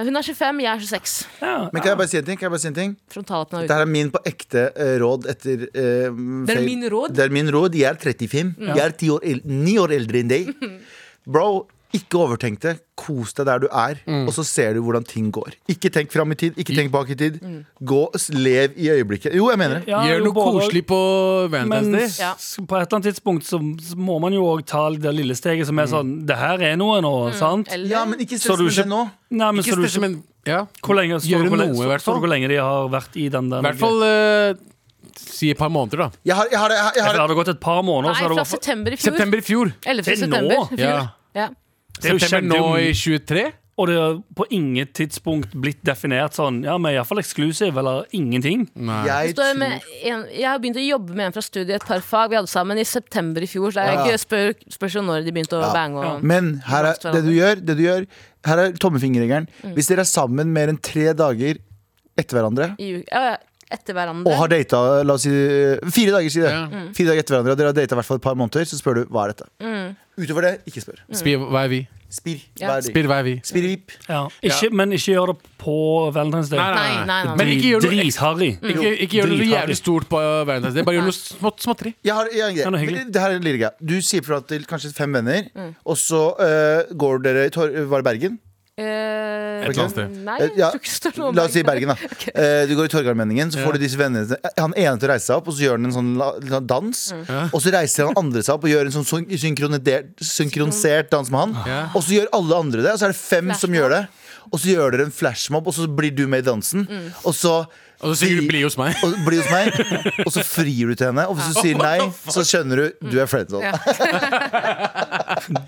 S4: Eh, hun er 25, jeg er 26.
S6: Men kan jeg bare si en ting? Kan jeg bare si en ting?
S4: Frontalappen er ute.
S6: Dette her er min på ekte eh, råd etter eh,
S4: Det er
S6: feil-
S4: min råd?
S6: Det er min råd. Jeg er 35. Jeg er 10 år, el- ni år eldre enn deg. Bro, ikke overtenk det. Kos deg der du er, og så ser du hvordan ting går. Ikke tenk fram Mm. i tid, ikke tenk bak i tid.
S4: Mm.
S6: Gå, s- Lev i øyeblikket. Jo, jeg mener det.
S7: Ja,
S5: Gjør
S7: jo,
S5: noe
S7: både-
S5: koselig på
S7: Men
S5: Valentine's Day.
S4: Ja.
S7: s- på et eller annet tidspunkt så så må man jo òg ta det lille steget som er sånn Det her er noe nå, sant?
S4: Eller
S6: Ja, men ikke
S7: Så
S6: stress
S7: du
S6: med
S7: ikke-
S6: det nå.
S7: Nei, men
S5: Ikke
S7: så du
S5: spesielt,
S7: ikke
S5: men ja.
S7: hvor lenge, står,
S5: Gjør
S7: det hvor,
S5: noe,
S7: lenge,
S5: i hvert
S7: står det
S5: fall.
S7: hvor lenge de har vært i den der
S5: I hvert fall eh, si et par måneder, da.
S6: Jeg har, jeg har, jeg har, jeg
S7: Etter
S6: har
S7: det hadde gått et par måneder,
S4: Nei,
S7: så hadde det
S4: fra
S7: vært
S4: september i fjor.
S5: September i fjor.
S4: 11.
S7: Til nå?
S4: september i fjor.
S5: Ja.
S4: Ja.
S7: Det er jo
S5: September nå
S7: kjempe-
S5: i 23.
S7: Og det har på inget tidspunkt blitt definert sånn Ja, vi er iallfall eksklusiv, eller ingenting.
S6: Jeg
S4: Jeg, står
S6: tror
S4: med en, jeg har begynt å jobbe med en fra studiet et par fag vi hadde sammen i september i fjor. Så jeg
S6: Ja.
S4: spør, spørs jo når de begynte å bange. Og,
S6: Men her er, det du gjør, det du gjør Her er tommefingerregelen.
S4: Mm.
S6: Hvis dere er sammen mer enn tre dager etter hverandre
S4: i, u- ja, Mm. ja, etter hverandre.
S6: og har data la oss si, eh, fire dager si det. Fire dager etter hverandre, og dere har data i hvert fall et par måneder, så spør du hva er dette. Utover det, ikke spør.
S5: Spir, hva er vi?
S6: Spir.
S4: Mm. Ja.
S6: Hva er det?
S5: Spir, hva er vi?
S4: Mm.
S6: Spirvip.
S7: Ikke, Men ikke gjør det på Valentine's Day.
S4: nei,
S5: Nei,
S4: nei, nei, nei.
S5: Men ikke gjør noe Mm.
S7: Dritharry.
S5: Ikke, ikke gjør noe
S7: Dritharry.
S5: jævlig stort på Valentine's Day. Bare gjør noe smått, småtteri.
S6: Jeg har, jeg har en
S7: Ja, det er
S6: greie.
S7: hyggelig.
S6: Men det her er en lille greie. Du sier fra til kanskje fem venner,
S4: Mm.
S6: og så eh, går dere i Tor Var det Bergen?
S4: Eh,
S5: Et eller annet sted.
S4: Nei,
S6: Eh,
S4: jeg
S6: ja.
S4: tror ikke det står noe om
S6: La oss si
S4: Bergen.
S6: Bergen, da. Eh, du går i Torgallmenningen, så får du disse vennene dine- Eh, Han ene til å reise seg opp, og så gjør han en sånn la- la- dans.
S4: Mm.
S6: Og så reiser han andre seg opp og gjør en sånn syn- synkronisert, synkronisert dans med han. Og så gjør alle andre det, og så er det fem som gjør det. Og så gjør dere en flashmob, og så blir du med i dansen.
S4: Mm.
S6: Og så
S5: Og så sier du 'bli hos meg'.
S6: og bli hos meg, og så frier du til henne. Og hvis du sier nei, så skjønner du du er fredelig.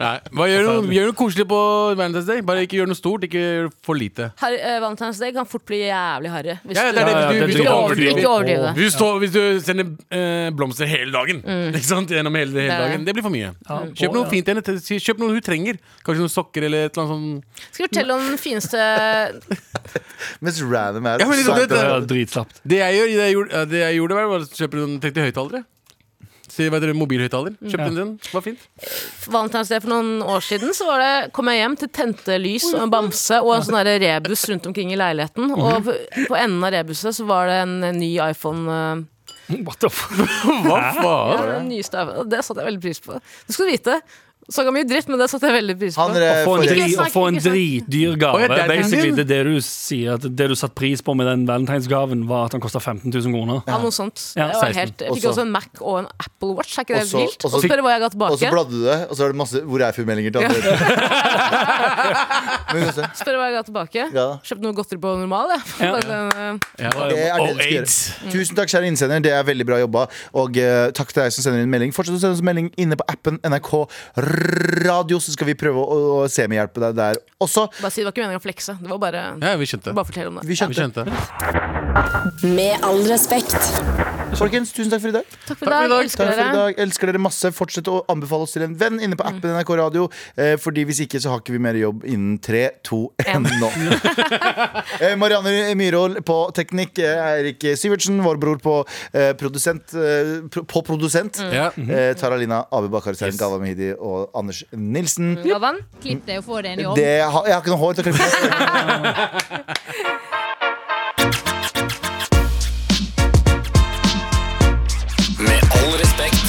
S5: Nei. Hva gjør,
S4: Altså,
S5: noe, gjør noe koselig på Valentine's Day. Bare ikke gjør noe stort. Ikke gjør for lite.
S4: Har, eh, Valentine's Day kan fort bli jævlig harry. Hvis
S5: Ja,
S4: du-
S5: det er det,
S7: Ja, ja,
S5: hvis du,
S7: det
S5: hvis du
S7: tror jeg.
S5: overdriver.
S4: Ikke overdriv det.
S5: Hvis du, står, hvis du sender eh, blomster hele dagen, ikke sant? gjennom hele,
S4: er
S5: hele
S4: Mm. det.
S5: dagen, det blir for mye.
S7: Ja.
S5: Kjøp noe fint til henne. til- si- Kjøp noe hun trenger. Kanskje noen sokker eller et eller annet sånn- sånt.
S4: Skal jeg fortelle om den fineste
S6: Mens random er
S5: Ja, men liksom,
S6: sagt
S5: det-
S7: Ja,
S6: at-
S7: Dritslapt.
S5: Det jeg, gjør, det jeg gjorde, ja, det jeg gjorde var å kjøpe noen tenkte høyttalere. Si, hva heter det, mobilhøyttaler. Kjøpte en sånn. Var fint.
S4: Valentine's Day for noen år siden, så var det, kom jeg hjem til tente lys og en bamse og en sånn der rebus rundt omkring i leiligheten. Og
S5: Mhm.
S4: på- på enden av rebuset så var det en eh, ny iPhone. eh,
S7: What the fuck?
S5: Hva faen?
S4: Ja, den nyeste iPhone, og det satte jeg veldig pris på. Det skal du vite. Snakka mye dritt, men det satte jeg veldig pris på.
S6: Han eh, er
S5: Eh,
S7: Å få en,
S6: forelska.
S7: dri, å få en dritdyr gave.
S5: sånn. Å, ja, det er den
S7: Basically,
S5: din.
S7: det er det du sier at det du satte pris på med den valentinsgaven, var at den kosta 15 000 kroner.
S4: Ja, noe sånt.
S7: Ja,
S4: Det var
S7: 16.
S4: helt, jeg fikk
S6: Også-
S4: også en Mac og en Apple Watch. Er ikke det
S6: Også-
S4: vilt? Og
S6: også-
S4: spør hva jeg ga
S6: Og så
S4: tilbake.
S6: bladde du det, og så er det masse Hvor er FU-meldinger til andre? Men uansett,
S4: Spør hva jeg ga tilbake.
S6: ja.
S4: Kjøpte noe godteri på normal, jeg.
S7: Ja.
S4: Bare, eh,
S6: Det er det du skal gjøre. Tusen takk, kjære innsender. Det er veldig bra jobba. Og eh, takk til deg som sender inn melding. Fortsett å sende oss melding inne på appen NRK Radio, så skal vi prøve å, å se med hjelpe deg der også.
S4: Bare si det var ikke meningen å flekse. Det var bare,
S5: Ja, vi skjønte.
S4: bare fortell om det.
S6: Vi
S5: Vi
S6: skjønte.
S5: skjønte.
S8: Med all respekt.
S6: Folkens, tusen takk for i dag.
S4: Takk for i dag.
S6: Takk
S4: Elsker
S6: for i
S4: dere.
S6: dag. Elsker dere masse. Fortsett å anbefale oss til en venn inne på appen NRK Radio. Eh, fordi hvis ikke, så har ikke vi mer jobb innen 3, 2, 1 nå. Eh, Marianne Myhrvold på teknikk. eh, Eirik Syvertsen, vår bror på eh, produsent. Eh, pro- på produsent.
S5: Ja.
S6: Eh, Taralina Abubakar Serin Gava Mehidi og Anders Nilsen.
S4: Gavan.
S9: Klipp det og få deg en jobb.
S6: Det, har- jeg har ikke noe hår til å klippe.
S2: Med all respekt.